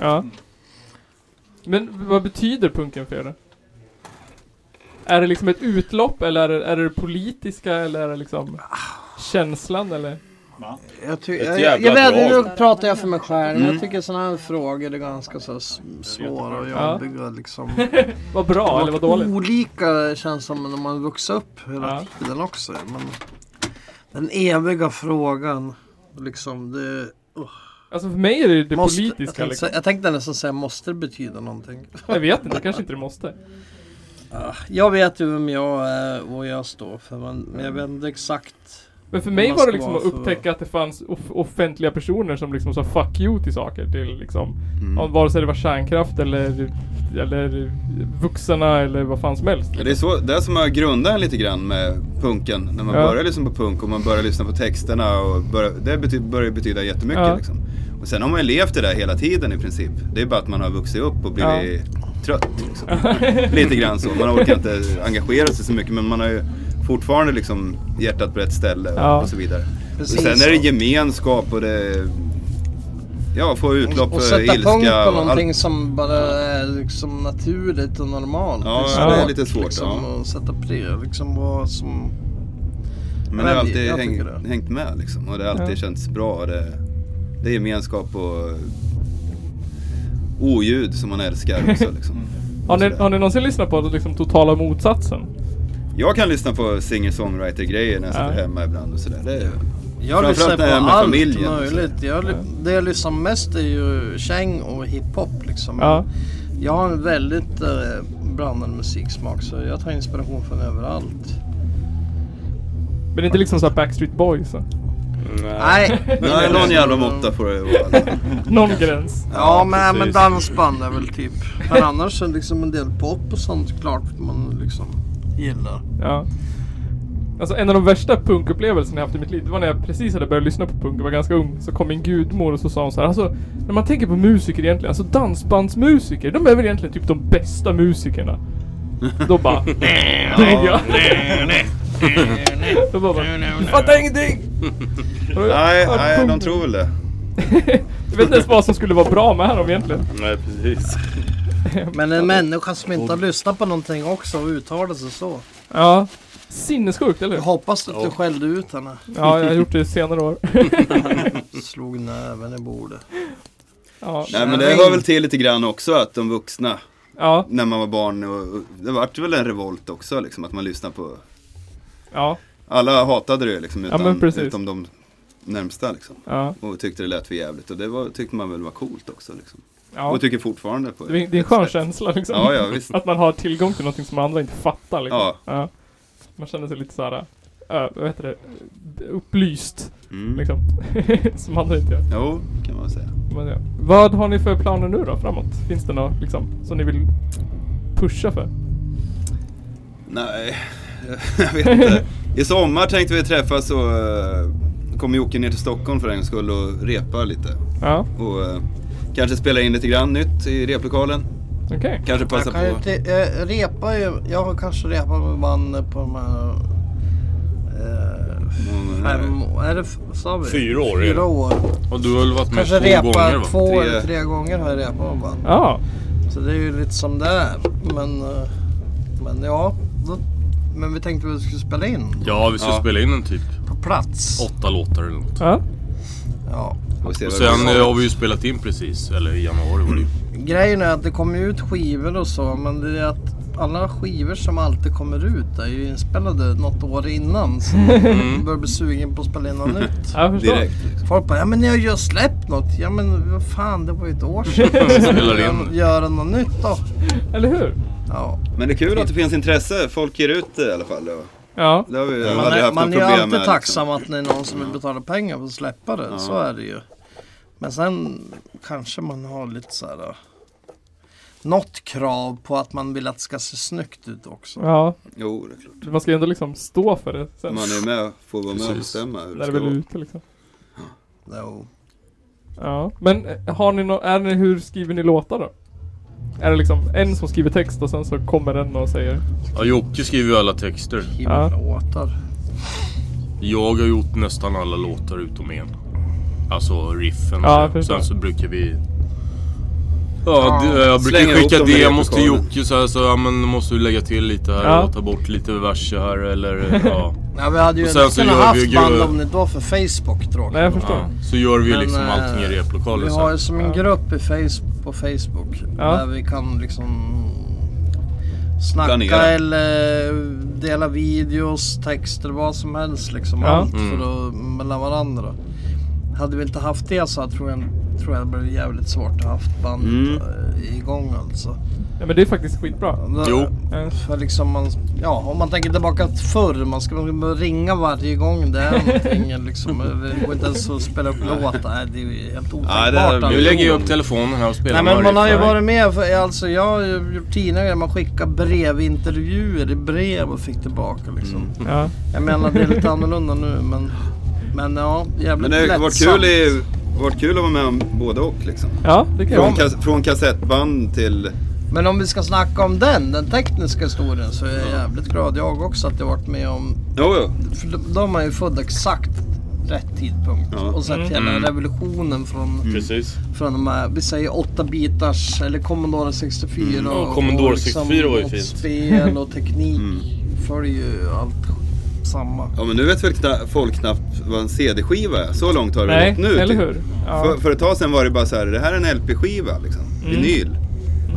Speaker 2: Ja. Men vad betyder punken för er då? Är det liksom ett utlopp eller är det, är det politiska eller är det liksom känslan eller?
Speaker 5: Jag, ty-
Speaker 7: Ett
Speaker 5: jag, jag,
Speaker 7: jävla
Speaker 5: jag vet,
Speaker 7: drag. Mm.
Speaker 5: nu pratar jag för mig själv. Jag tycker sådana här frågor är ganska så här s- svåra och
Speaker 2: Ja.
Speaker 5: jobbiga liksom.
Speaker 2: Vad bra eller vad dåligt?
Speaker 5: Olika känns som när man vuxit upp hela
Speaker 2: Ja.
Speaker 5: tiden också. Men den eviga frågan. Liksom det... Oh,
Speaker 2: Alltså för mig är det det
Speaker 5: måste, jag,
Speaker 2: politiska
Speaker 5: tänkte,
Speaker 2: liksom.
Speaker 5: säga- jag tänkte nästan säga måste det betyda någonting.
Speaker 2: Jag vet inte, kanske inte det måste.
Speaker 5: Jag vet ju vem jag är och vad jag står för men men
Speaker 4: Mm.
Speaker 5: jag vet inte exakt.
Speaker 2: Men för mig
Speaker 5: Man
Speaker 2: var det
Speaker 5: ska
Speaker 2: liksom
Speaker 5: vara
Speaker 2: att
Speaker 5: så-
Speaker 2: upptäcka att det fanns off- offentliga personer som liksom sa fuck you till saker. Till liksom, mm. vare sig det var kärnkraft eller, eller vuxna eller vad fan som helst.
Speaker 4: Ja, Det är så, det är som har grundat en lite grann med punken. När man
Speaker 2: Ja.
Speaker 4: börjar lyssna på punk och man börjar lyssna på texterna. Och börjar, det bety, börjar betyda jättemycket.
Speaker 2: Ja.
Speaker 4: Liksom. Och sen har man ju levt det där hela tiden i princip. Det är bara att man har vuxit upp och blivit trött. Liksom. lite grann så. Man orkar inte engagera sig så mycket men man har ju fortfarande liksom hjärtat på rätt ställe och,
Speaker 2: Ja.
Speaker 4: och så vidare.
Speaker 5: Precis
Speaker 4: och sen är det
Speaker 5: så.
Speaker 4: gemenskap och det... Ja, få utlopp
Speaker 5: Och
Speaker 4: för
Speaker 5: sätta
Speaker 4: eh, ilska.
Speaker 5: punkt på
Speaker 4: och
Speaker 5: någonting som bara är liksom naturligt och normalt.
Speaker 4: Ja,
Speaker 5: liksom.
Speaker 2: det är
Speaker 4: lite svårt,
Speaker 5: Liksom,
Speaker 4: ja.
Speaker 5: att sätta pri, liksom vad som...
Speaker 4: Men det har
Speaker 5: Men
Speaker 4: alltid
Speaker 5: jag
Speaker 4: häng,
Speaker 5: tycker det.
Speaker 4: hängt med liksom. Och det har alltid
Speaker 2: Ja.
Speaker 4: känts bra. Och det, det är gemenskap och oljud som man älskar också liksom.
Speaker 2: Har ni, har ni någonsin lyssnat på liksom totala motsatsen?
Speaker 4: Jag kan lyssna på singer-songwriter-grejer när jag sitter
Speaker 2: Ja.
Speaker 4: hemma ibland och sådär. Det är,
Speaker 5: Jag
Speaker 4: Framförallt
Speaker 5: lyssnar på
Speaker 4: när jag är med
Speaker 5: allt
Speaker 4: familjen.
Speaker 5: möjligt. Jag, ly- det jag lyssnar mest är ju käng och hiphop liksom.
Speaker 2: Ja.
Speaker 5: Jag har en väldigt eh, blandad musiksmak så jag tar inspiration från överallt.
Speaker 2: Men det är inte liksom såhär Backstreet Boys? så.
Speaker 5: Nej,
Speaker 4: men det är någon jävla måtta får det vara.
Speaker 2: Någon gräns.
Speaker 5: Ja, men,
Speaker 4: precis.
Speaker 5: men dansband är väl typ. Men annars är liksom en del pop och sånt klart man liksom gillar.
Speaker 2: Ja. Alltså en av de värsta punkupplevelserna jag haft i mitt liv, det var när jag precis hade börjat lyssna på punk och var ganska ung. Så kom min gudmor och så sa hon så här, alltså när man tänker på musiker egentligen, alltså dansbandsmusiker, de är väl egentligen typ de bästa musikerna. Då bara... tänkte jag. Då bara... bara, "Du Fattar ingenting! Och då-
Speaker 4: Nej,
Speaker 2: Ja,
Speaker 4: nej,
Speaker 2: punk.
Speaker 4: de tror väl det.
Speaker 2: Jag vet inte ens vad som skulle vara bra med dem egentligen.
Speaker 7: Nej precis.
Speaker 5: Men en människa som inte har lyssnat på någonting också och uttalar sig så.
Speaker 2: Ja. Sinnessjukt, eller
Speaker 5: Jag
Speaker 2: hur?
Speaker 5: hoppas att du skällde ut henne.
Speaker 2: Ja, jag har gjort det i senare år.
Speaker 5: Slog näven i bordet.
Speaker 2: Ja.
Speaker 4: Nej, men det hör väl till lite grann också att de vuxna,
Speaker 2: Ja.
Speaker 4: när man var barn, och, och, det vart väl en revolt också liksom att man lyssnar på
Speaker 2: Ja.
Speaker 4: alla hatade det liksom,
Speaker 2: Ja,
Speaker 4: utan,
Speaker 2: men precis.
Speaker 4: utom de närmsta liksom.
Speaker 2: Ja.
Speaker 4: Och tyckte det lät för jävligt och det var, tyckte man väl var coolt också liksom.
Speaker 2: ja.
Speaker 4: Och tycker fortfarande på
Speaker 2: Det är
Speaker 4: det.
Speaker 2: en- det är en skön känsla liksom.
Speaker 4: Ja, ja visst.
Speaker 2: Att man har tillgång till någonting som andra inte fattar liksom.
Speaker 4: Ja.
Speaker 2: Man känner sig lite såhär, äh, vad heter det, B- upplyst
Speaker 4: Mm.
Speaker 2: liksom. som andra inte gör.
Speaker 4: Jo, kan man säga.
Speaker 2: Men, ja. Vad har ni för planer nu då framåt? Finns det något liksom som ni vill pusha för?
Speaker 4: Nej, jag vet inte. I sommar tänkte vi träffas och eh, kommer Jocke ner till Stockholm för en gångs skull och repa lite.
Speaker 2: Ja,
Speaker 4: Och eh, kanske spela in lite grann nytt i replokalen.
Speaker 2: okej.
Speaker 4: Kanske passa
Speaker 5: Jag kan ju
Speaker 4: på.
Speaker 5: inte, jag repar ju, jag har kanske repat med band på de här eh,
Speaker 4: Mm,
Speaker 5: fem år, är det, f- sa vi?
Speaker 7: Fyra år är
Speaker 5: Fyra
Speaker 7: det.
Speaker 5: år.
Speaker 7: Och du har väl varit med
Speaker 5: Kanske
Speaker 7: två gånger
Speaker 5: repa
Speaker 7: va?
Speaker 5: två
Speaker 4: Tre.
Speaker 5: eller tre gånger har jag repat med band.
Speaker 2: Ja,
Speaker 5: Så det är ju lite som det är. Men, eh, men ja, då, men vi tänkte att vi skulle spela in
Speaker 7: Ja vi ska
Speaker 4: Ja.
Speaker 7: spela in en typ
Speaker 5: på plats.
Speaker 7: åtta låtar eller något.
Speaker 2: ja,
Speaker 5: Ja.
Speaker 4: Får se
Speaker 7: Och
Speaker 4: vad det
Speaker 7: sen
Speaker 4: blir.
Speaker 7: eh, har vi ju spelat in precis, eller i januari var det ju.
Speaker 5: Grejen är att det kommer ju ut skivor och så men det är att alla skivor som alltid kommer ut är ju inspelade något år innan. Så
Speaker 7: Mm.
Speaker 5: man börjar bli sugen på att spela in något nytt.
Speaker 2: Ja, jag förstår.
Speaker 4: Direkt.
Speaker 5: Folk bara, ja men ni har ju släppt något. Ja men vad fan, det var ju ett år sedan.
Speaker 7: Spelar in.
Speaker 5: Gör- Göra något nytt då.
Speaker 2: Eller hur?
Speaker 5: Ja.
Speaker 4: Men det är kul att det finns intresse. Folk ger ut det i alla fall. Och
Speaker 2: Ja.
Speaker 4: det har vi aldrig
Speaker 5: Man
Speaker 4: haft
Speaker 5: är,
Speaker 4: något
Speaker 5: man är ju
Speaker 4: problem
Speaker 5: alltid
Speaker 4: med. liksom.
Speaker 7: liksom.
Speaker 5: tacksam att det är någon som vill betala pengar för att släppa det. Så är det ju. Men sen kanske man har lite så här. eh, Något krav på att man vill att det ska se snyggt ut också.
Speaker 2: Ja,
Speaker 4: Liksom. Jo, det är klart.
Speaker 2: man ska ju ändå liksom stå för det sen.
Speaker 4: Man är med, får vara med och
Speaker 7: Precis.
Speaker 4: bestämma hur det
Speaker 2: När det
Speaker 4: ska
Speaker 2: väl är
Speaker 4: vara.
Speaker 2: ute liksom.
Speaker 5: Jo.
Speaker 2: Ja. Men eh, har ni nå är ni, hur skriver ni låtar då? Är det liksom en som skriver text och sen så kommer en och säger
Speaker 7: Ja, Jocke skriver ju alla texter.
Speaker 5: Himla
Speaker 2: Ja.
Speaker 5: åtar.
Speaker 7: Jag har gjort nästan alla låtar utom en. Alltså riffen.
Speaker 2: Ja,
Speaker 7: och så.
Speaker 2: förstår.
Speaker 7: Sen så brukar vi... Ja, det- jag brukar
Speaker 4: Slänga ihop
Speaker 7: skicka
Speaker 4: dem i
Speaker 7: demos till
Speaker 4: repertoaren.
Speaker 7: Jocke så här så ja, men måste du lägga till lite här
Speaker 2: Ja.
Speaker 7: och ta bort lite verser här eller ja.
Speaker 5: Ja, vi hade ju
Speaker 7: Och sen
Speaker 5: inte
Speaker 7: så
Speaker 5: kunnat
Speaker 7: gör vi
Speaker 5: haft
Speaker 7: ju-
Speaker 5: band om det inte var för Facebook tråkigt.
Speaker 2: Nej jag förstår.
Speaker 7: ja. Så gör vi
Speaker 5: Men,
Speaker 7: liksom
Speaker 5: eh,
Speaker 7: allting i replokalen
Speaker 5: Vi
Speaker 7: sen.
Speaker 5: har ju som en grupp i face, på Facebook
Speaker 2: Ja.
Speaker 5: där vi kan liksom snacka
Speaker 4: Planera.
Speaker 5: eller dela videos, texter, vad som helst liksom.
Speaker 2: Ja.
Speaker 5: Allt
Speaker 7: Mm.
Speaker 5: för att, mellan varandra. Hade vi inte haft det så tror jag, tror jag det blev jävligt svårt att haft bandet
Speaker 4: Mm.
Speaker 5: eh, igång alltså.
Speaker 2: Ja men det är faktiskt skitbra.
Speaker 7: Jo.
Speaker 2: Ja.
Speaker 5: För liksom man, ja, om man tänker tillbaka till förr, man ska man behöva ringa varje gång det är någonting. Liksom. Det går inte ens att spela upp låtar. Nej, det är ju helt
Speaker 4: Nej, det här
Speaker 5: otänkbart.
Speaker 7: Nu lägger jag upp telefonen här och spelar
Speaker 5: Nej men
Speaker 7: några
Speaker 5: man har ju
Speaker 7: riff här.
Speaker 5: varit med, för, alltså jag har ju gjort tidningar där man skickar brevintervjuer i brev och fick tillbaka liksom.
Speaker 7: Mm.
Speaker 2: Ja.
Speaker 5: Jag menar det är lite annorlunda nu men, men ja,
Speaker 4: Men
Speaker 5: jävligt
Speaker 4: det har varit
Speaker 5: lättsamt.
Speaker 4: kul, i, varit kul att vara med om både och liksom.
Speaker 2: ja, det kan
Speaker 4: Från,
Speaker 2: jag.
Speaker 4: kas, från kassettband till...
Speaker 5: Men om vi ska snacka om den, den tekniska historien så är jag jävligt glad jag också att jag varit med om,
Speaker 4: Jo, jo.
Speaker 5: för de- de är ju födda exakt rätt tidpunkt
Speaker 4: Ja.
Speaker 5: och sett hela
Speaker 7: Mm.
Speaker 5: revolutionen från,
Speaker 7: Precis.
Speaker 5: från de här, vi säger 8 bitars eller Commodore 64
Speaker 7: Ja, Commodore 64 var ju
Speaker 5: och
Speaker 7: fint. Mm.
Speaker 5: spel och teknik följer ju allt samma.
Speaker 4: Ja, men nu vet väl kna, folk knappt vad en CD-skiva är. Så långt har det
Speaker 2: Nej,
Speaker 4: gått nu.
Speaker 2: eller
Speaker 4: typ.
Speaker 2: hur? Ja. Mm.
Speaker 4: För, för ett tag sedan var det bara så här, det här är en LP-skiva liksom. Vinyl.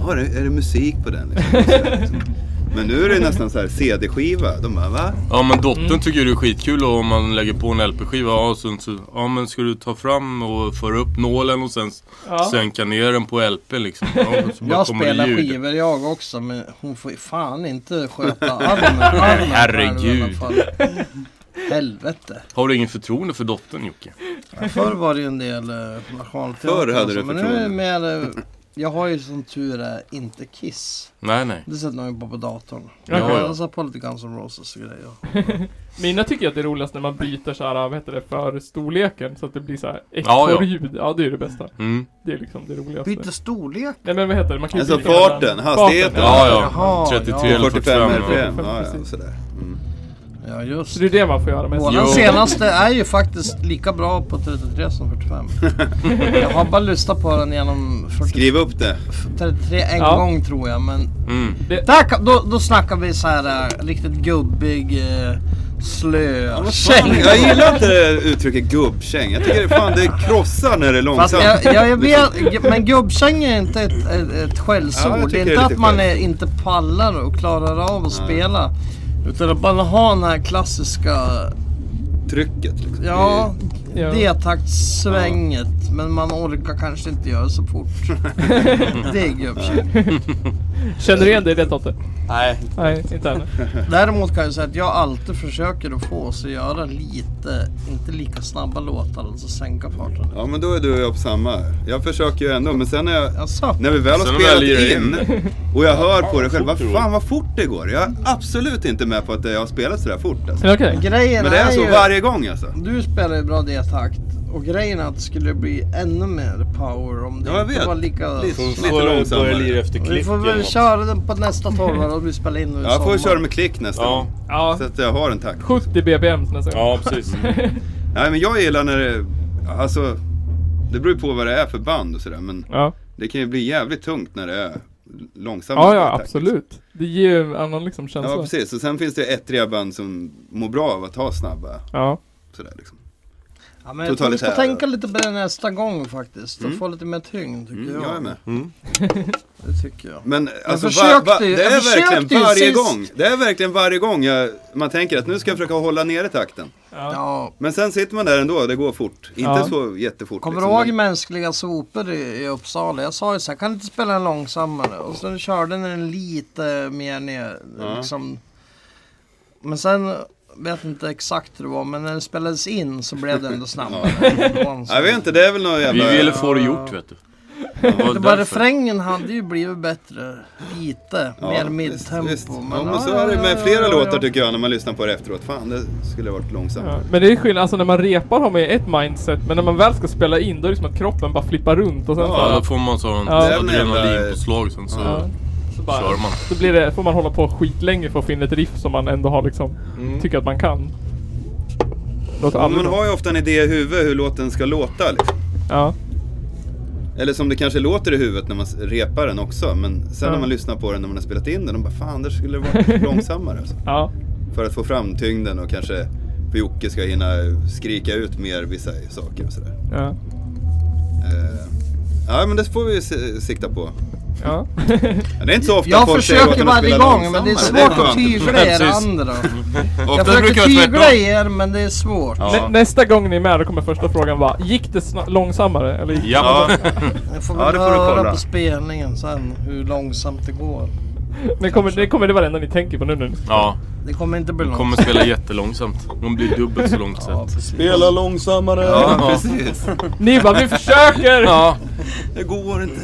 Speaker 4: Ja, det- är det musik på den? Liksom. Och så här, liksom. Men nu är det nästan så här CD-skiva. De bara, va?
Speaker 7: Ja men dottern
Speaker 2: Mm.
Speaker 7: tycker det är skitkul om man lägger på en LP-skiva. Ja, så, så, ja men ska du ta fram och föra upp nålen och sen s-
Speaker 2: Ja.
Speaker 7: sänka ner den på LP liksom. Ja, så bara
Speaker 5: Jag
Speaker 7: kommer det
Speaker 5: spelar
Speaker 7: ljud.
Speaker 5: skivor jag också men hon får ju fan inte sköta armen. armen
Speaker 7: Herregud.
Speaker 5: själv i alla fall. Helvete.
Speaker 7: Har du ingen förtroende för dottern Jocke?
Speaker 5: Förr var det ju en del eh, nationalteater.
Speaker 4: Förr hade
Speaker 5: och så,
Speaker 4: du
Speaker 5: Men nu är det mer, eh, jag har ju som tur är inte Kiss.
Speaker 7: Nej nej.
Speaker 5: Det sätter man ju på på datorn.
Speaker 2: Ja,
Speaker 5: Jag
Speaker 7: ja.
Speaker 5: har satt på lite Guns N' Roses och grejer.
Speaker 2: Mina tycker att det är roligast när man byter så här, vad heter det, för storleken så att det blir så här
Speaker 7: Ja, ja.
Speaker 2: ekorrljud. Ja, det är ju det bästa.
Speaker 7: Mm.
Speaker 2: Det är liksom det roligaste.
Speaker 5: Byter storlek.
Speaker 2: Nej men vad heter det? Man kan ju
Speaker 4: Alltså
Speaker 2: byta mellan-
Speaker 4: farten, hastigheten.
Speaker 7: Ja ja.
Speaker 5: Jaha,
Speaker 7: 33
Speaker 5: ja.
Speaker 7: eller 45.
Speaker 4: 45
Speaker 7: ja.
Speaker 4: RPM.
Speaker 2: ja.
Speaker 4: Ja, ja, sådär. Mm.
Speaker 5: Ja just.
Speaker 2: Så det är det man får göra mest.
Speaker 5: Våran
Speaker 7: Jo.
Speaker 5: senaste är ju faktiskt lika bra på 33 som 45. jag har bara lyssnat på den genom 40,
Speaker 4: Skriv upp det.
Speaker 5: 33 en
Speaker 2: Ja.
Speaker 5: gång tror jag men
Speaker 7: Mm.
Speaker 5: Där, kan- då, då snackar vi så här eh, riktigt gubbig, eh, slö
Speaker 4: Jag
Speaker 5: känga.
Speaker 4: gillar inte uttrycket gubbkäng. Jag tycker fan det krossar när det är långsamt. Liksom
Speaker 5: Fast jag, jag, jag vet, men gubbkänga är inte ett, ett, ett skällsord.
Speaker 4: Ja, jag tycker det är
Speaker 5: det är inte att
Speaker 4: lite
Speaker 5: man
Speaker 4: skäll.
Speaker 5: är, inte pallar och klarar av att spela. Utan att bara ha den här klassiska,
Speaker 4: Trycket liksom.
Speaker 5: ja,
Speaker 2: Ja.
Speaker 5: D-taktssvänget. Men man orkar kanske inte göra så fort. det är gubbkänga.
Speaker 2: Känner du igen dig i det Totte?
Speaker 3: Nej.
Speaker 2: Nej, inte än.
Speaker 5: Däremot kan jag säga att jag alltid försöker att få oss att göra lite, inte lika snabba låtar, alltså sänka farten.
Speaker 4: Ja men då är du och jag på samma. Jag försöker ju ändå men sen när, jag,
Speaker 5: Jaså?
Speaker 4: när vi väl
Speaker 7: Sen
Speaker 4: har
Speaker 7: när
Speaker 4: spelat
Speaker 7: vi väljer
Speaker 4: in och jag hör på det
Speaker 7: vad
Speaker 4: själv. Vad
Speaker 7: fort det
Speaker 4: fan vad fort det går. Jag är absolut inte med på att jag har spelat sådär fort alltså.
Speaker 2: Men okej.
Speaker 5: Grejen
Speaker 4: Men det är så
Speaker 5: ju,
Speaker 4: varje gång alltså.
Speaker 5: du spelar ju bra D-takt och grejen är att det skulle bli ännu mer power om det
Speaker 4: Ja, jag
Speaker 5: inte
Speaker 4: vet.
Speaker 5: var lika...
Speaker 4: Lite.
Speaker 7: Så
Speaker 4: Lite
Speaker 7: får du börja
Speaker 4: långsammare.
Speaker 7: lira efter
Speaker 5: Vi får
Speaker 7: klicken.
Speaker 5: väl köra den på nästa torva och vi spelar in nu i
Speaker 4: Jag får
Speaker 5: sommar.
Speaker 4: ju köra med klick nästa
Speaker 7: Ja.
Speaker 4: gång.
Speaker 2: Ja,
Speaker 4: Så att jag har en takt.
Speaker 2: 70 BPM nästa gång.
Speaker 7: Ja precis.
Speaker 3: Mm.
Speaker 4: Nej men jag gillar när det, alltså. Det beror ju på vad det är för band och sådär men
Speaker 2: Ja,
Speaker 4: det kan ju bli jävligt tungt när det är långsammare
Speaker 2: ja, ja
Speaker 4: takt.
Speaker 2: absolut. Det ger ju en annan liksom
Speaker 4: Ja
Speaker 2: känsla.
Speaker 4: precis, och sen finns det ettriga band som mår bra av att ha snabba
Speaker 2: Ja,
Speaker 4: sådär liksom.
Speaker 5: Ja, men jag tror vi ska
Speaker 4: Totalitära.
Speaker 5: tänka lite på det nästa gång faktiskt. Och få lite mer tyngd tycker
Speaker 4: Mm,
Speaker 5: jag.
Speaker 4: jag är med.
Speaker 5: Det tycker jag.
Speaker 4: Men alltså,
Speaker 5: försökte
Speaker 4: va, va,
Speaker 5: ju-
Speaker 4: det
Speaker 5: jag
Speaker 4: är verkligen
Speaker 5: försökte ju
Speaker 4: varje
Speaker 5: sist.
Speaker 4: gång. Det är verkligen varje gång jag, man tänker att nu ska jag försöka hålla nere takten.
Speaker 5: Ja.
Speaker 4: Men sen sitter man där ändå, det går fort. Inte
Speaker 2: Ja.
Speaker 4: så jättefort.
Speaker 5: Kommer du
Speaker 4: liksom,
Speaker 5: ihåg
Speaker 4: men-
Speaker 5: Mänskliga sopor i, i Uppsala? Jag sa ju så här, kan du inte spela den långsammare? Och sen körde ni den lite mer ner.
Speaker 4: Ja.
Speaker 5: Liksom. Men sen vet inte exakt hur det var, men när den spelades in så blev det ändå snabbare. Det var en sån-
Speaker 4: Jag vet inte, det är väl någon
Speaker 7: Vi
Speaker 4: jävla...
Speaker 7: ville få det gjort vet du. Det var
Speaker 5: Det bara
Speaker 7: därför.
Speaker 5: refrängen hade ju blivit bättre. Lite
Speaker 4: Ja,
Speaker 5: mer
Speaker 4: visst,
Speaker 5: midtempo.
Speaker 4: visst.
Speaker 5: men
Speaker 4: Ja, men
Speaker 5: ja,
Speaker 4: så är det
Speaker 5: ja,
Speaker 4: med
Speaker 5: ja,
Speaker 4: flera
Speaker 5: ja,
Speaker 4: låtar
Speaker 5: ja.
Speaker 4: tycker jag när man lyssnar på det efteråt. Fan, det skulle ha varit långsamt.
Speaker 2: Ja, men det är skillnad, alltså när man repar har man ju ett mindset, men när man väl ska spela in då är det som att kroppen bara flippar runt och sen
Speaker 7: Ja, då
Speaker 2: så,
Speaker 7: får man sån
Speaker 2: Ja. Det
Speaker 4: är väl jävla-
Speaker 7: adrenalinpåslag sen så
Speaker 2: ja, så bara,
Speaker 7: kör man.
Speaker 2: Då blir det, får man hålla på skitlänge för att finna ett riff som man ändå har liksom, tycker att man kan. Låter
Speaker 4: Mm. Men man
Speaker 2: aldrig bra.
Speaker 4: har ju ofta en idé i huvudet hur låten ska låta. Liksom.
Speaker 2: Ja.
Speaker 4: Eller som det kanske låter i huvudet när man s- repar den också. Men sen
Speaker 2: Ja.
Speaker 4: när man lyssnar på den när man har spelat in den, de bara fan, där skulle det varit långsammare. Alltså.
Speaker 2: Ja.
Speaker 4: För att få fram tyngden och kanske för Jocke ska hinna skrika ut mer vissa saker och sådär.
Speaker 2: Ja.
Speaker 4: Eh, ja, men det får vi se- sikta på.
Speaker 2: Ja.
Speaker 4: Ja, Det är inte så ofta
Speaker 5: Jag
Speaker 4: folk säger åt
Speaker 5: försöker
Speaker 4: en att
Speaker 5: varje
Speaker 4: spela
Speaker 5: gång men det är
Speaker 4: långsammare.
Speaker 5: svårt att
Speaker 4: skönt.
Speaker 5: tygla er
Speaker 7: Precis.
Speaker 5: andra.
Speaker 7: Ofta
Speaker 5: Jag
Speaker 7: brukar
Speaker 5: försöker typ-
Speaker 7: det vara
Speaker 5: tygla
Speaker 7: tvärtom.
Speaker 5: er men det är svårt.
Speaker 2: Nä, nästa gång ni är med då kommer första frågan vara, gick det sna- långsammare? Eller gick
Speaker 7: Ja.
Speaker 5: Jag får
Speaker 4: Ja,
Speaker 5: väl
Speaker 4: det får du kolla.
Speaker 5: höra på spelningen sen hur långsamt det går.
Speaker 2: det, kommer, det kommer det varenda ni tänker på nu nu.
Speaker 7: ja.
Speaker 5: Det kommer inte bli
Speaker 7: Kommer
Speaker 5: långsamt.
Speaker 7: spela jättelångsamt. Hon blir dubbelt så
Speaker 5: Ja,
Speaker 7: långsamt.
Speaker 5: precis.
Speaker 3: Spela långsammare.
Speaker 4: Ja, precis.
Speaker 2: Ni bara, vi försöker!
Speaker 7: Ja.
Speaker 4: Det går inte.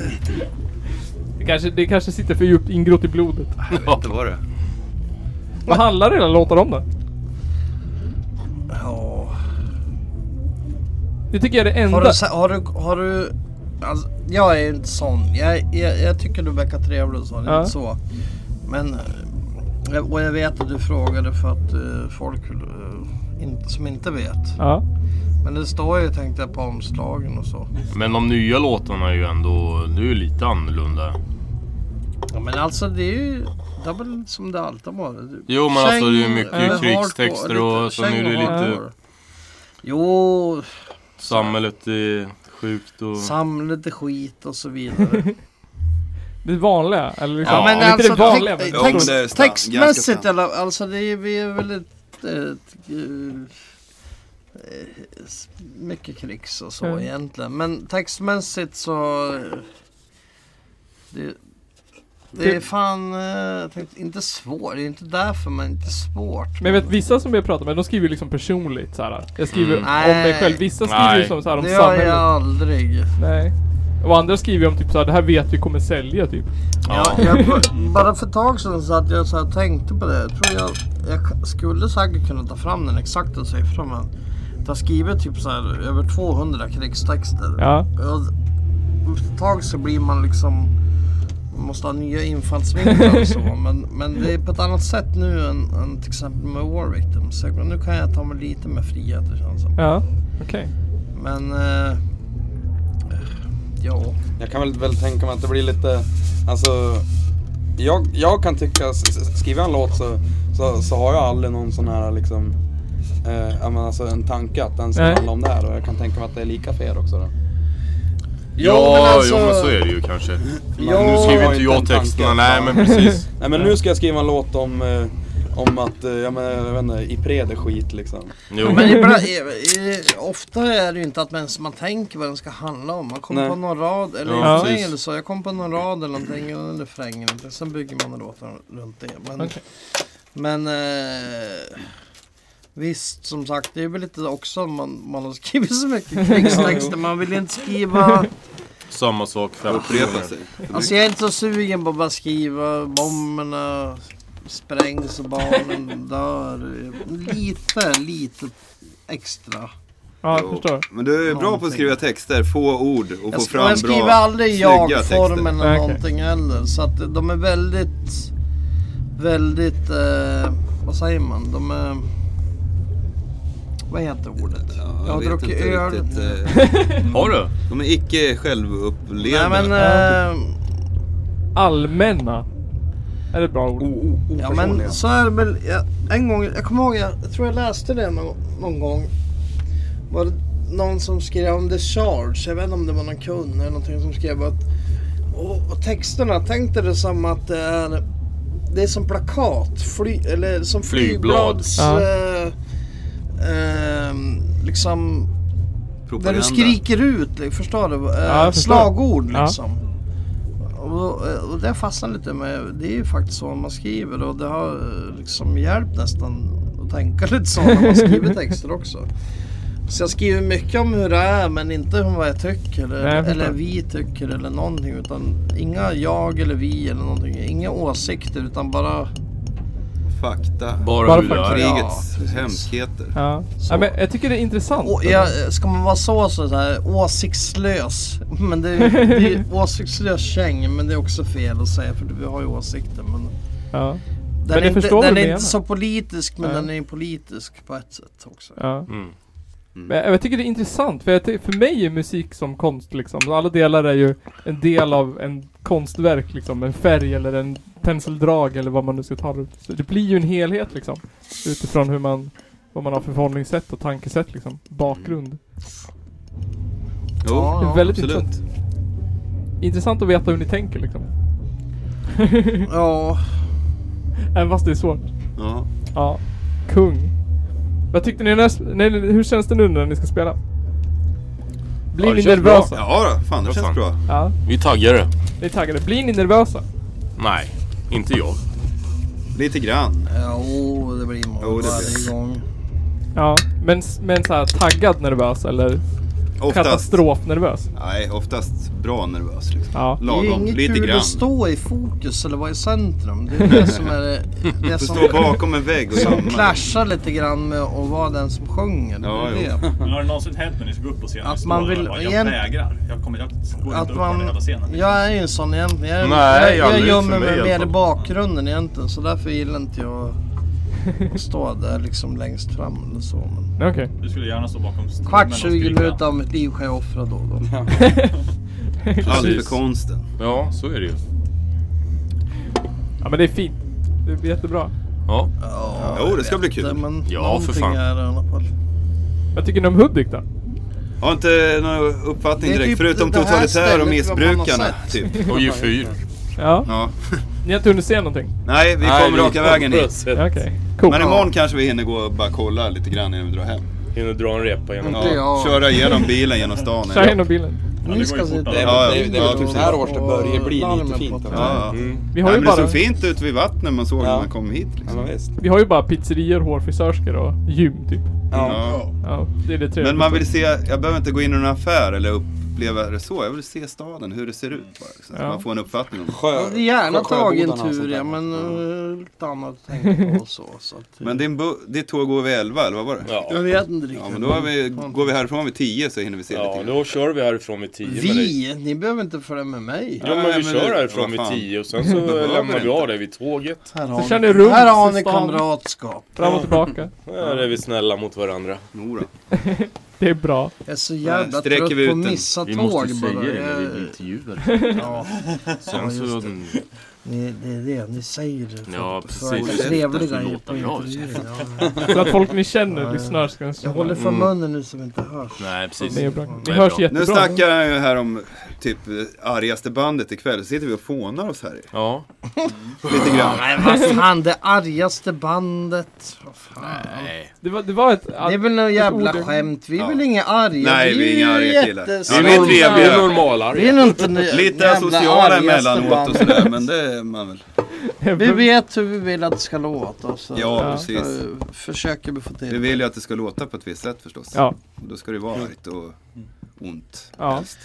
Speaker 2: Det, kanske, det kanske sitter för djupt ingrott i blodet.
Speaker 4: Jag vet inte vad det är.
Speaker 2: Vad handlar era låtar om då?
Speaker 5: Ja.
Speaker 2: Det tycker jag är det
Speaker 5: Har du,
Speaker 2: enda...
Speaker 5: se- har du, har du alltså, jag är inte sån. Jag, jag, jag tycker du verkar trevlig och så. Det är
Speaker 2: Ja.
Speaker 5: inte så. Men, eh, och jag vet att du frågade för att eh, folk eh, in, som inte vet.
Speaker 2: Ja.
Speaker 5: Men det står ju tänkte jag på omslagen och så.
Speaker 7: Men de nya låtarna är ju ändå, det är ju lite annorlunda.
Speaker 5: Ja, men alltså det är ju det är väl som det alltid har varit.
Speaker 7: Jo, men alltså, det är mycket
Speaker 5: eller eh, hardcore,
Speaker 7: krigstexter och
Speaker 5: lite
Speaker 7: sen är det
Speaker 5: käng och
Speaker 7: lite-
Speaker 5: hardcore. Jo,
Speaker 7: Samhället är sjukt och...
Speaker 5: samlet är skit och så vidare.
Speaker 2: Det vanliga, eller liksom,
Speaker 5: Ja, men
Speaker 2: inte
Speaker 5: alltså,
Speaker 2: det vanliga
Speaker 5: tex-
Speaker 2: men...
Speaker 4: Jo, men
Speaker 5: text,
Speaker 4: det är sta- ganska
Speaker 5: textmässigt
Speaker 4: sant.
Speaker 5: eller, alltså det är, vi är väl ett, ett, eh, s- mycket krigs och så
Speaker 2: Mm.
Speaker 5: egentligen. Men textmässigt så eh, det, det
Speaker 2: Det-
Speaker 5: är fan, eh, jag tänkte, inte svårt, det är inte därför men inte svårt.
Speaker 2: Men jag vet vissa som jag pratar med, de skriver ju liksom personligt såhär. Jag skriver
Speaker 7: Mm.
Speaker 2: om mig
Speaker 5: Nej.
Speaker 2: själv. Vissa skriver ju
Speaker 7: Nej.
Speaker 2: som såhär om
Speaker 5: det gör
Speaker 2: samhället.
Speaker 5: jag aldrig.
Speaker 2: Nej. Och andra skriver ju om typ såhär, det här vet vi kommer sälja typ.
Speaker 7: Ja.
Speaker 5: Jag, jag, bara för ett tag sedan så att jag så här tänkte på det. Jag tror jag, jag skulle säkert kunna ta fram den exakta siffran men jag har skrivit typ så här över 200 krigstexter.
Speaker 2: Ja.
Speaker 5: Och om ett tag så blir man liksom man måste ha nya infallsvinklar och så men, men det är på ett annat sätt nu än, än till exempel med War Victims. Så Nu kan jag ta mig lite mer frihet det känns som.
Speaker 2: Ja. Okej.
Speaker 5: Men eh, ja.
Speaker 3: Jag kan väl, väl tänka mig att det blir lite, alltså, jag, jag kan tycka, s- s- skriver jag en låt så, så, så har jag aldrig någon sån här liksom, eh, ja, men alltså en tanke att den ska
Speaker 2: Nej.
Speaker 3: handla om det här och jag kan tänka mig att det är lika fel också då.
Speaker 7: Ja, jo men så är det ju kanske. nu skriver inte jag texterna, nej men precis.
Speaker 3: Nej men nu ska jag skriva en låt om, eh, om att, eh, ja men jag vet inte, Ipred är skit liksom.
Speaker 7: Jo.
Speaker 5: Men ibland, i, i, ofta är det ju inte att man, ens- man tänker vad den ska handla om. Man kommer
Speaker 3: Nej.
Speaker 5: på någon rad eller
Speaker 7: Ja,
Speaker 5: en refräng
Speaker 7: precis.
Speaker 5: eller så. Jag kom på någon rad eller någonting eller en refräng. eller någonting. Sen bygger man låten runt det. Men,
Speaker 2: Okej.
Speaker 5: men eh, visst, som sagt, det är väl lite också man, man har skrivit så mycket krigstexter. Man vill ju inte skriva.
Speaker 7: Samma sak fem
Speaker 4: Upprepa sig.
Speaker 5: Alltså jag är inte så sugen på att bara skriva bomberna sprängs och barnen dör. Lite, lite extra.
Speaker 2: Ja,
Speaker 4: Jo.
Speaker 2: jag förstår.
Speaker 4: Men du är bra på att skriva texter, få ord och få
Speaker 5: Jag,
Speaker 4: fram bra,
Speaker 5: jag skriver aldrig
Speaker 4: snygga texter.
Speaker 5: jag-formen eller
Speaker 2: Okej.
Speaker 5: någonting heller. Så att de är väldigt, väldigt, eh, vad säger man? De är, vad heter ordet?
Speaker 4: Ja,
Speaker 5: jag har
Speaker 4: vet
Speaker 5: druckit
Speaker 4: inte
Speaker 5: öl.
Speaker 4: riktigt,
Speaker 5: nu.
Speaker 4: eh,
Speaker 7: Har du?
Speaker 4: De är icke
Speaker 5: Nej
Speaker 4: självupplevda.
Speaker 5: men, eh,
Speaker 2: Allmänna. Är det ett bra ord?
Speaker 5: ja, men så är det väl. Jag, en gång, jag kommer ihåg, jag, jag tror jag läste det någon, någon gång. Var det någon som skrev om The Charge. Jag vet inte om det var någon kund eller någonting som skrev att... Och, och texterna, tänkte det som att det är... Det är som plakat. Fly, eller som
Speaker 7: Flygblad.
Speaker 5: flygblads...
Speaker 2: Ja.
Speaker 5: Eh, ehm, liksom... Där du
Speaker 4: Propaganda.
Speaker 5: skriker ut, liksom, förstår du? Eh,
Speaker 2: Ja, jag förstår.
Speaker 5: Slagord
Speaker 2: Ja.
Speaker 5: liksom. Och, eh, och det fastnar lite med, det är ju faktiskt så man skriver och det har eh, liksom hjälpt nästan att tänka lite så när man skriver texter också. Så jag skriver mycket om hur det är men inte om vad jag tycker
Speaker 2: Nej,
Speaker 5: eller,
Speaker 2: jag förstår.
Speaker 5: eller vi tycker eller någonting utan inga jag eller vi eller någonting, inga åsikter utan bara
Speaker 4: Fakta.
Speaker 7: Bara,
Speaker 2: Bara
Speaker 7: hur det
Speaker 2: faktiskt.
Speaker 7: är.
Speaker 4: Krigets
Speaker 5: Ja, precis.
Speaker 4: hemskheter.
Speaker 2: Ja. ja men jag tycker det är intressant.
Speaker 5: Å- ja, eh, ska man vara så, så, så här, åsiktslös? Men det är, det är ju åsiktslös käng, men det är också fel att säga för vi har ju åsikter. Men
Speaker 2: Ja.
Speaker 5: den
Speaker 2: jag
Speaker 5: är, inte,
Speaker 2: förstår vad
Speaker 5: den
Speaker 2: du
Speaker 5: är
Speaker 2: menar.
Speaker 5: inte så politisk, men
Speaker 2: Nej.
Speaker 5: den är ju politisk på ett sätt också.
Speaker 2: Ja.
Speaker 7: Mm.
Speaker 2: Men jag, jag tycker det är intressant, för, jag, ty- för mig är musik som konst liksom. Alla delar är ju en del av en konstverk liksom. En färg eller en penseldrag eller vad man nu ska ta det. Så det blir ju en helhet liksom. Utifrån hur man, vad man har för förhållningssätt och tankesätt liksom. Bakgrund.
Speaker 4: Jo,
Speaker 5: Ja,
Speaker 2: det är väldigt
Speaker 4: absolut.
Speaker 2: intressant. Intressant att veta hur ni tänker liksom.
Speaker 5: Ja,
Speaker 2: Även fast det är svårt.
Speaker 4: Ja.
Speaker 2: Ja. Kung. Vad tyckte ni när, nej, hur känns det nu när ni ska spela? Blir
Speaker 7: Ja, det
Speaker 2: ni
Speaker 7: känns bra.
Speaker 2: nervösa?
Speaker 4: Ja, då, fan det
Speaker 7: Vad
Speaker 4: känns
Speaker 7: fan.
Speaker 4: bra.
Speaker 2: ja.
Speaker 7: Vi taggar det.
Speaker 2: Ni är taggade. Blir ni nervösa?
Speaker 7: Nej, inte jag.
Speaker 4: Lite grann.
Speaker 5: ja åh, det blir man
Speaker 4: Jo, det
Speaker 5: varje
Speaker 4: blir.
Speaker 5: gång.
Speaker 2: Ja, men, men så här taggad nervös eller
Speaker 4: Oftast,
Speaker 2: katastrofnervös?
Speaker 4: nej, oftast bra nervös liksom.
Speaker 2: Ja.
Speaker 5: Det är ju
Speaker 4: Lagom,
Speaker 5: inget
Speaker 4: lite
Speaker 5: kul
Speaker 4: grann.
Speaker 5: att stå i fokus eller vara i centrum. Det är det som är det, det
Speaker 4: Du
Speaker 5: som,
Speaker 4: står bakom en vägg och
Speaker 5: som
Speaker 4: jammar.
Speaker 5: clashar lite grann med att vara den som sjunger. Det
Speaker 4: Ja,
Speaker 5: är
Speaker 4: jo.
Speaker 5: det.
Speaker 8: Men har det någonsin hänt när ni ska upp på scenen?
Speaker 5: Att
Speaker 8: Står
Speaker 5: man
Speaker 8: där och
Speaker 5: vill-
Speaker 8: bara, Jag
Speaker 5: igen-
Speaker 8: vägrar. Jag, kommer, jag går inte
Speaker 5: Att
Speaker 8: upp på den
Speaker 5: man,
Speaker 8: jävla scenen.
Speaker 5: jag är ju en sån egentligen. Jag,
Speaker 7: Nej,
Speaker 5: jag, jag
Speaker 7: aldrig
Speaker 5: gömmer
Speaker 7: för mig
Speaker 5: mig
Speaker 7: i alla
Speaker 5: mer i
Speaker 7: fall.
Speaker 5: bakgrunden egentligen. Så därför gillar inte jag att stå där liksom längst fram eller så. Men
Speaker 2: Okej.
Speaker 8: Du skulle gärna stå bakom strömmen
Speaker 5: kvart,
Speaker 8: och
Speaker 5: 20
Speaker 8: skrika.
Speaker 5: minuter av mitt liv kan jag offra då och då.
Speaker 4: Allt
Speaker 7: Precis.
Speaker 4: för konsten.
Speaker 7: Ja, så är det ju.
Speaker 2: Ja men det är fint. Det blir jättebra.
Speaker 7: Ja.
Speaker 5: Ja,
Speaker 4: Jo, det ska bli
Speaker 5: det-
Speaker 4: kul.
Speaker 5: Men
Speaker 7: Ja, för
Speaker 5: någonting
Speaker 7: fan.
Speaker 5: Är det, i alla fall.
Speaker 2: Vad tycker ni om Hudik då?
Speaker 4: Har inte någon uppfattning
Speaker 5: Det är
Speaker 4: direkt,
Speaker 5: typ
Speaker 4: förutom
Speaker 5: det här
Speaker 4: totalitär och
Speaker 5: stället vad man har
Speaker 4: missbrukarna.
Speaker 5: sett.
Speaker 4: Typ.
Speaker 7: Och ju fyr.
Speaker 2: Ja.
Speaker 4: Ja.
Speaker 2: Ni har inte hunnit se någonting?
Speaker 4: Nej, vi
Speaker 7: Nej,
Speaker 4: kommer raka vägen
Speaker 7: på
Speaker 4: hit.
Speaker 7: sätt.
Speaker 2: Okej. Cool.
Speaker 4: Men imorgon kanske vi hinner gå och bara kolla lite grann innan vi drar hem.
Speaker 7: Hinner dra en repa igen.
Speaker 5: Inte
Speaker 4: Ja,
Speaker 5: jag.
Speaker 4: köra igenom bilen genom stan.
Speaker 2: Kör in och bilen.
Speaker 8: det går
Speaker 5: Ni ska
Speaker 8: ju
Speaker 5: se
Speaker 8: fortare.
Speaker 3: Det är,
Speaker 4: Ja,
Speaker 3: det är, det är
Speaker 4: ja,
Speaker 3: väl typ
Speaker 4: precis.
Speaker 3: så här års det börjar bli lite
Speaker 5: Larmet
Speaker 3: fint.
Speaker 5: på
Speaker 3: Alltså.
Speaker 4: Ja, ja.
Speaker 7: Mm.
Speaker 2: Vi
Speaker 4: Nej,
Speaker 2: har,
Speaker 4: men
Speaker 2: ju
Speaker 4: det såg
Speaker 2: bara,
Speaker 4: fint ut vid vattnet man såg när
Speaker 3: Ja.
Speaker 4: man kom hit.
Speaker 3: Ja,
Speaker 4: Liksom.
Speaker 3: men visst.
Speaker 2: vi har ju bara pizzerior, hårfrisörskor och gym typ.
Speaker 3: Ja.
Speaker 4: Ja.
Speaker 2: Ja, det är det trevliga.
Speaker 4: Men man vill se, jag behöver inte gå in i någon affär eller uppleva det så. Jag vill se staden, hur det ser ut bara. Liksom. Så
Speaker 2: Ja.
Speaker 4: man får en uppfattning om det.
Speaker 3: Sjö,
Speaker 5: Jag hade gärna
Speaker 3: sjö-
Speaker 5: tagit en
Speaker 3: sjöbodarna och sånt
Speaker 5: tur
Speaker 3: där.
Speaker 5: ja, men eh, lite annat att tänka på och så. så att,
Speaker 4: Men din bu- ditt tåg går vid 11 eller vad var det?
Speaker 7: Ja.
Speaker 5: jag vet inte riktigt.
Speaker 4: Ja, men då har vi, går vi härifrån vid 10 så hinner vi se
Speaker 7: Ja,
Speaker 4: lite grann.
Speaker 7: då kör vi härifrån vid 10 med dig.
Speaker 5: Vi? Ni behöver inte följa med mig.
Speaker 7: Ja men
Speaker 4: Nej,
Speaker 7: vi
Speaker 4: men
Speaker 7: kör
Speaker 4: det-
Speaker 7: härifrån
Speaker 4: vad
Speaker 7: vid
Speaker 4: fan.
Speaker 7: 10 och sen så
Speaker 4: behöver
Speaker 7: lämnar
Speaker 4: inte.
Speaker 7: vi av dig vid tåget.
Speaker 5: Här
Speaker 2: Så
Speaker 5: har
Speaker 2: känner
Speaker 5: ni-
Speaker 2: runt
Speaker 5: här har
Speaker 2: i
Speaker 5: ni
Speaker 2: stan.
Speaker 5: kamratskap.
Speaker 2: Fram och tillbaka.
Speaker 7: Här är vi snälla mot varandra.
Speaker 4: Jo då.
Speaker 2: Det är bra.
Speaker 5: Jag är så jävla
Speaker 4: sträcker
Speaker 5: trött
Speaker 4: vi ut
Speaker 5: på att
Speaker 4: den.
Speaker 5: missa
Speaker 7: Vi
Speaker 5: tåg
Speaker 7: måste säga
Speaker 5: bara.
Speaker 7: det när vi
Speaker 5: Jag-
Speaker 7: blir intervjuade.
Speaker 5: ja,
Speaker 7: Sen så...
Speaker 5: just ni, det är det. Ni säger det. för
Speaker 7: Ja,
Speaker 5: att-
Speaker 7: precis.
Speaker 5: för att vara
Speaker 7: Det är så
Speaker 5: Trevliga
Speaker 7: därför
Speaker 5: i-
Speaker 7: låter
Speaker 5: på
Speaker 7: jag
Speaker 5: intervjuer. Ja.
Speaker 2: Så att folk ni känner lyssnar ska
Speaker 5: Jag håller för
Speaker 4: Mm.
Speaker 5: munnen nu som inte hörs.
Speaker 7: Nej precis.
Speaker 2: Det är bra.
Speaker 7: Det
Speaker 2: Ni
Speaker 7: är
Speaker 2: hörs
Speaker 7: bra.
Speaker 2: jättebra.
Speaker 4: Nu snackar jag ju här om typ argaste bandet ikväll. Så sitter vi och fånar oss här i.
Speaker 7: Ja.
Speaker 4: lite grann.
Speaker 5: Nej, vad fan. Det argaste bandet. Vad fan.
Speaker 7: Nej.
Speaker 2: Det var, det var ett...
Speaker 5: Det är väl något jävla
Speaker 2: ord.
Speaker 5: skämt. Vi är
Speaker 4: Ja.
Speaker 5: väl inga arga.
Speaker 4: Nej, vi är inga
Speaker 5: ju
Speaker 4: arga killar.
Speaker 5: jättesnälla.
Speaker 4: Ja, vi är
Speaker 7: Vi är
Speaker 4: trevliga.
Speaker 5: Vi är
Speaker 7: normalarga.
Speaker 5: nog inte ni-
Speaker 4: Lite
Speaker 5: jävla
Speaker 4: asociala
Speaker 5: argaste
Speaker 4: emellanåt och
Speaker 5: bandet.
Speaker 4: sådär. Men det är man väl.
Speaker 5: Vi vet hur vi vill att det ska låta. och Så
Speaker 4: Ja, precis.
Speaker 5: eh, försöker vi få till
Speaker 4: Vi vill ju att det ska låta på ett visst sätt förstås.
Speaker 2: Ja.
Speaker 4: Och Då ska det vara argt och ont.
Speaker 2: Ja.
Speaker 4: helst.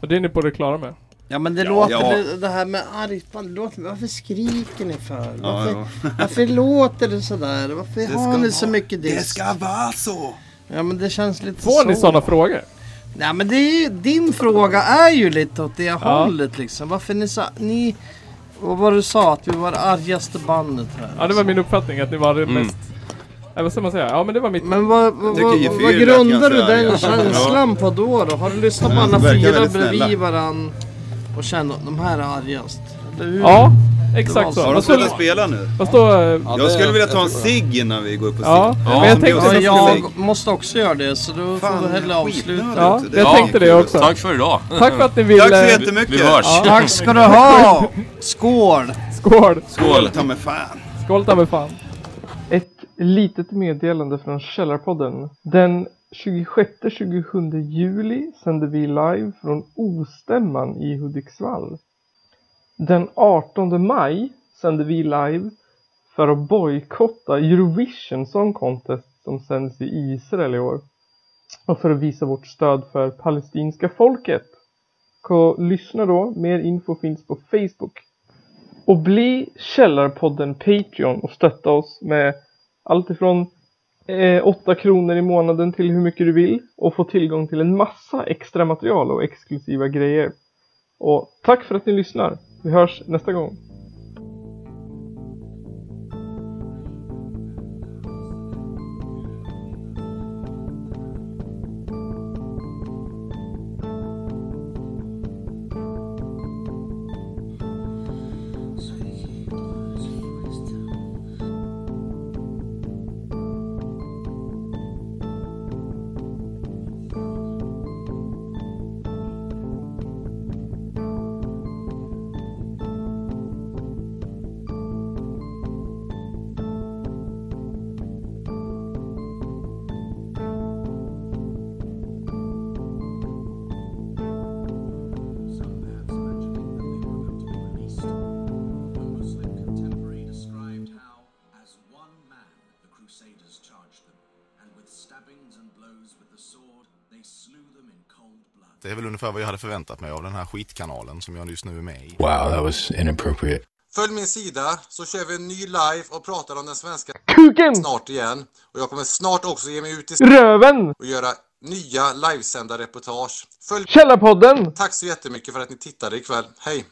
Speaker 2: Och det är ni på det klara med.
Speaker 5: Ja men det låter,
Speaker 4: ja.
Speaker 5: Det, det här med argt band, det låter, varför skriker ni för?
Speaker 4: Ja,
Speaker 5: Varför, varför låter det sådär? Varför har ni så mycket disk?
Speaker 4: vara så!
Speaker 5: Ja men det känns lite
Speaker 2: Får
Speaker 5: så.
Speaker 2: ni sådana frågor?
Speaker 5: Nej men det är ju, din fråga är ju lite åt det hållet liksom. Varför ni sa, ni, vad var det du sa? Att vi var det argaste bandet här. liksom.
Speaker 2: Ja, det var min uppfattning att ni var det
Speaker 7: Mm.
Speaker 2: mest... Nej, vad ska man säga? Ja, men det var mitt...
Speaker 5: Men vad, vad,
Speaker 4: tycker
Speaker 5: vad,
Speaker 4: G4
Speaker 5: vad
Speaker 4: lät
Speaker 5: grundar
Speaker 4: ganska
Speaker 5: du den
Speaker 4: arga.
Speaker 5: känslan på då, då? Har du lyssnat på
Speaker 4: Ja,
Speaker 5: alla
Speaker 4: de verkar
Speaker 5: fyra
Speaker 4: väldigt
Speaker 5: bredvid
Speaker 4: snälla.
Speaker 5: varann och känner att de här är argast? Eller hur?
Speaker 2: Ja, Exakt så.
Speaker 4: Har de
Speaker 2: Vad skulle,
Speaker 4: slutat spela nu?
Speaker 2: vad står... eh,
Speaker 3: Ja,
Speaker 4: jag
Speaker 3: det-
Speaker 4: skulle vilja ta en
Speaker 3: jag tror-
Speaker 4: cigg innan vi går på cigg.
Speaker 2: Ja, men jag
Speaker 4: men
Speaker 2: tänkte-
Speaker 4: det är
Speaker 5: Ja,
Speaker 4: också-
Speaker 5: jag måste också göra det så då
Speaker 4: Fan,
Speaker 5: får vi hellre
Speaker 4: skitnödigt.
Speaker 5: avsluta.
Speaker 2: Ja,
Speaker 4: Det-
Speaker 2: jag tänkte det också.
Speaker 7: Tack för idag.
Speaker 2: Tack för att ni ville...
Speaker 4: Tack så jättemycket!
Speaker 7: Vi hörs.
Speaker 2: Ja.
Speaker 5: Tack ska du ha! Skål!
Speaker 2: Skål!
Speaker 4: Skål! Ta mig fan!
Speaker 2: Skål ta mig fan! Ett litet meddelande från Källarpodden. Den 26-27 juli sänder vi live från Ostämman i Hudiksvall. Den 18 maj sänder vi live för att bojkotta Eurovision Song Contest som sänds i Israel i år. Och för att visa vårt stöd för palestinska folket. Ko- Lyssna då, mer info finns på Facebook. Och bli Källarpodden Patreon och stötta oss med allt ifrån eh, 8 kronor i månaden till hur mycket du vill och få tillgång till en massa extra material och exklusiva grejer. Och tack för att ni lyssnar. Vi hörs nästa gång.
Speaker 9: Det är väl ungefär vad jag hade förväntat mig av den här skitkanalen som jag just nu är med i.
Speaker 10: Wow, that was inappropriate.
Speaker 11: Följ min sida så kör vi en ny live och pratar om den svenska
Speaker 2: Kuken!
Speaker 11: snart igen. Och jag kommer snart också ge mig ut i s-
Speaker 2: Röven!
Speaker 11: och göra nya livesända reportage. Följ...
Speaker 2: Källarpodden!
Speaker 11: Tack så jättemycket för att ni tittade ikväll. Hej!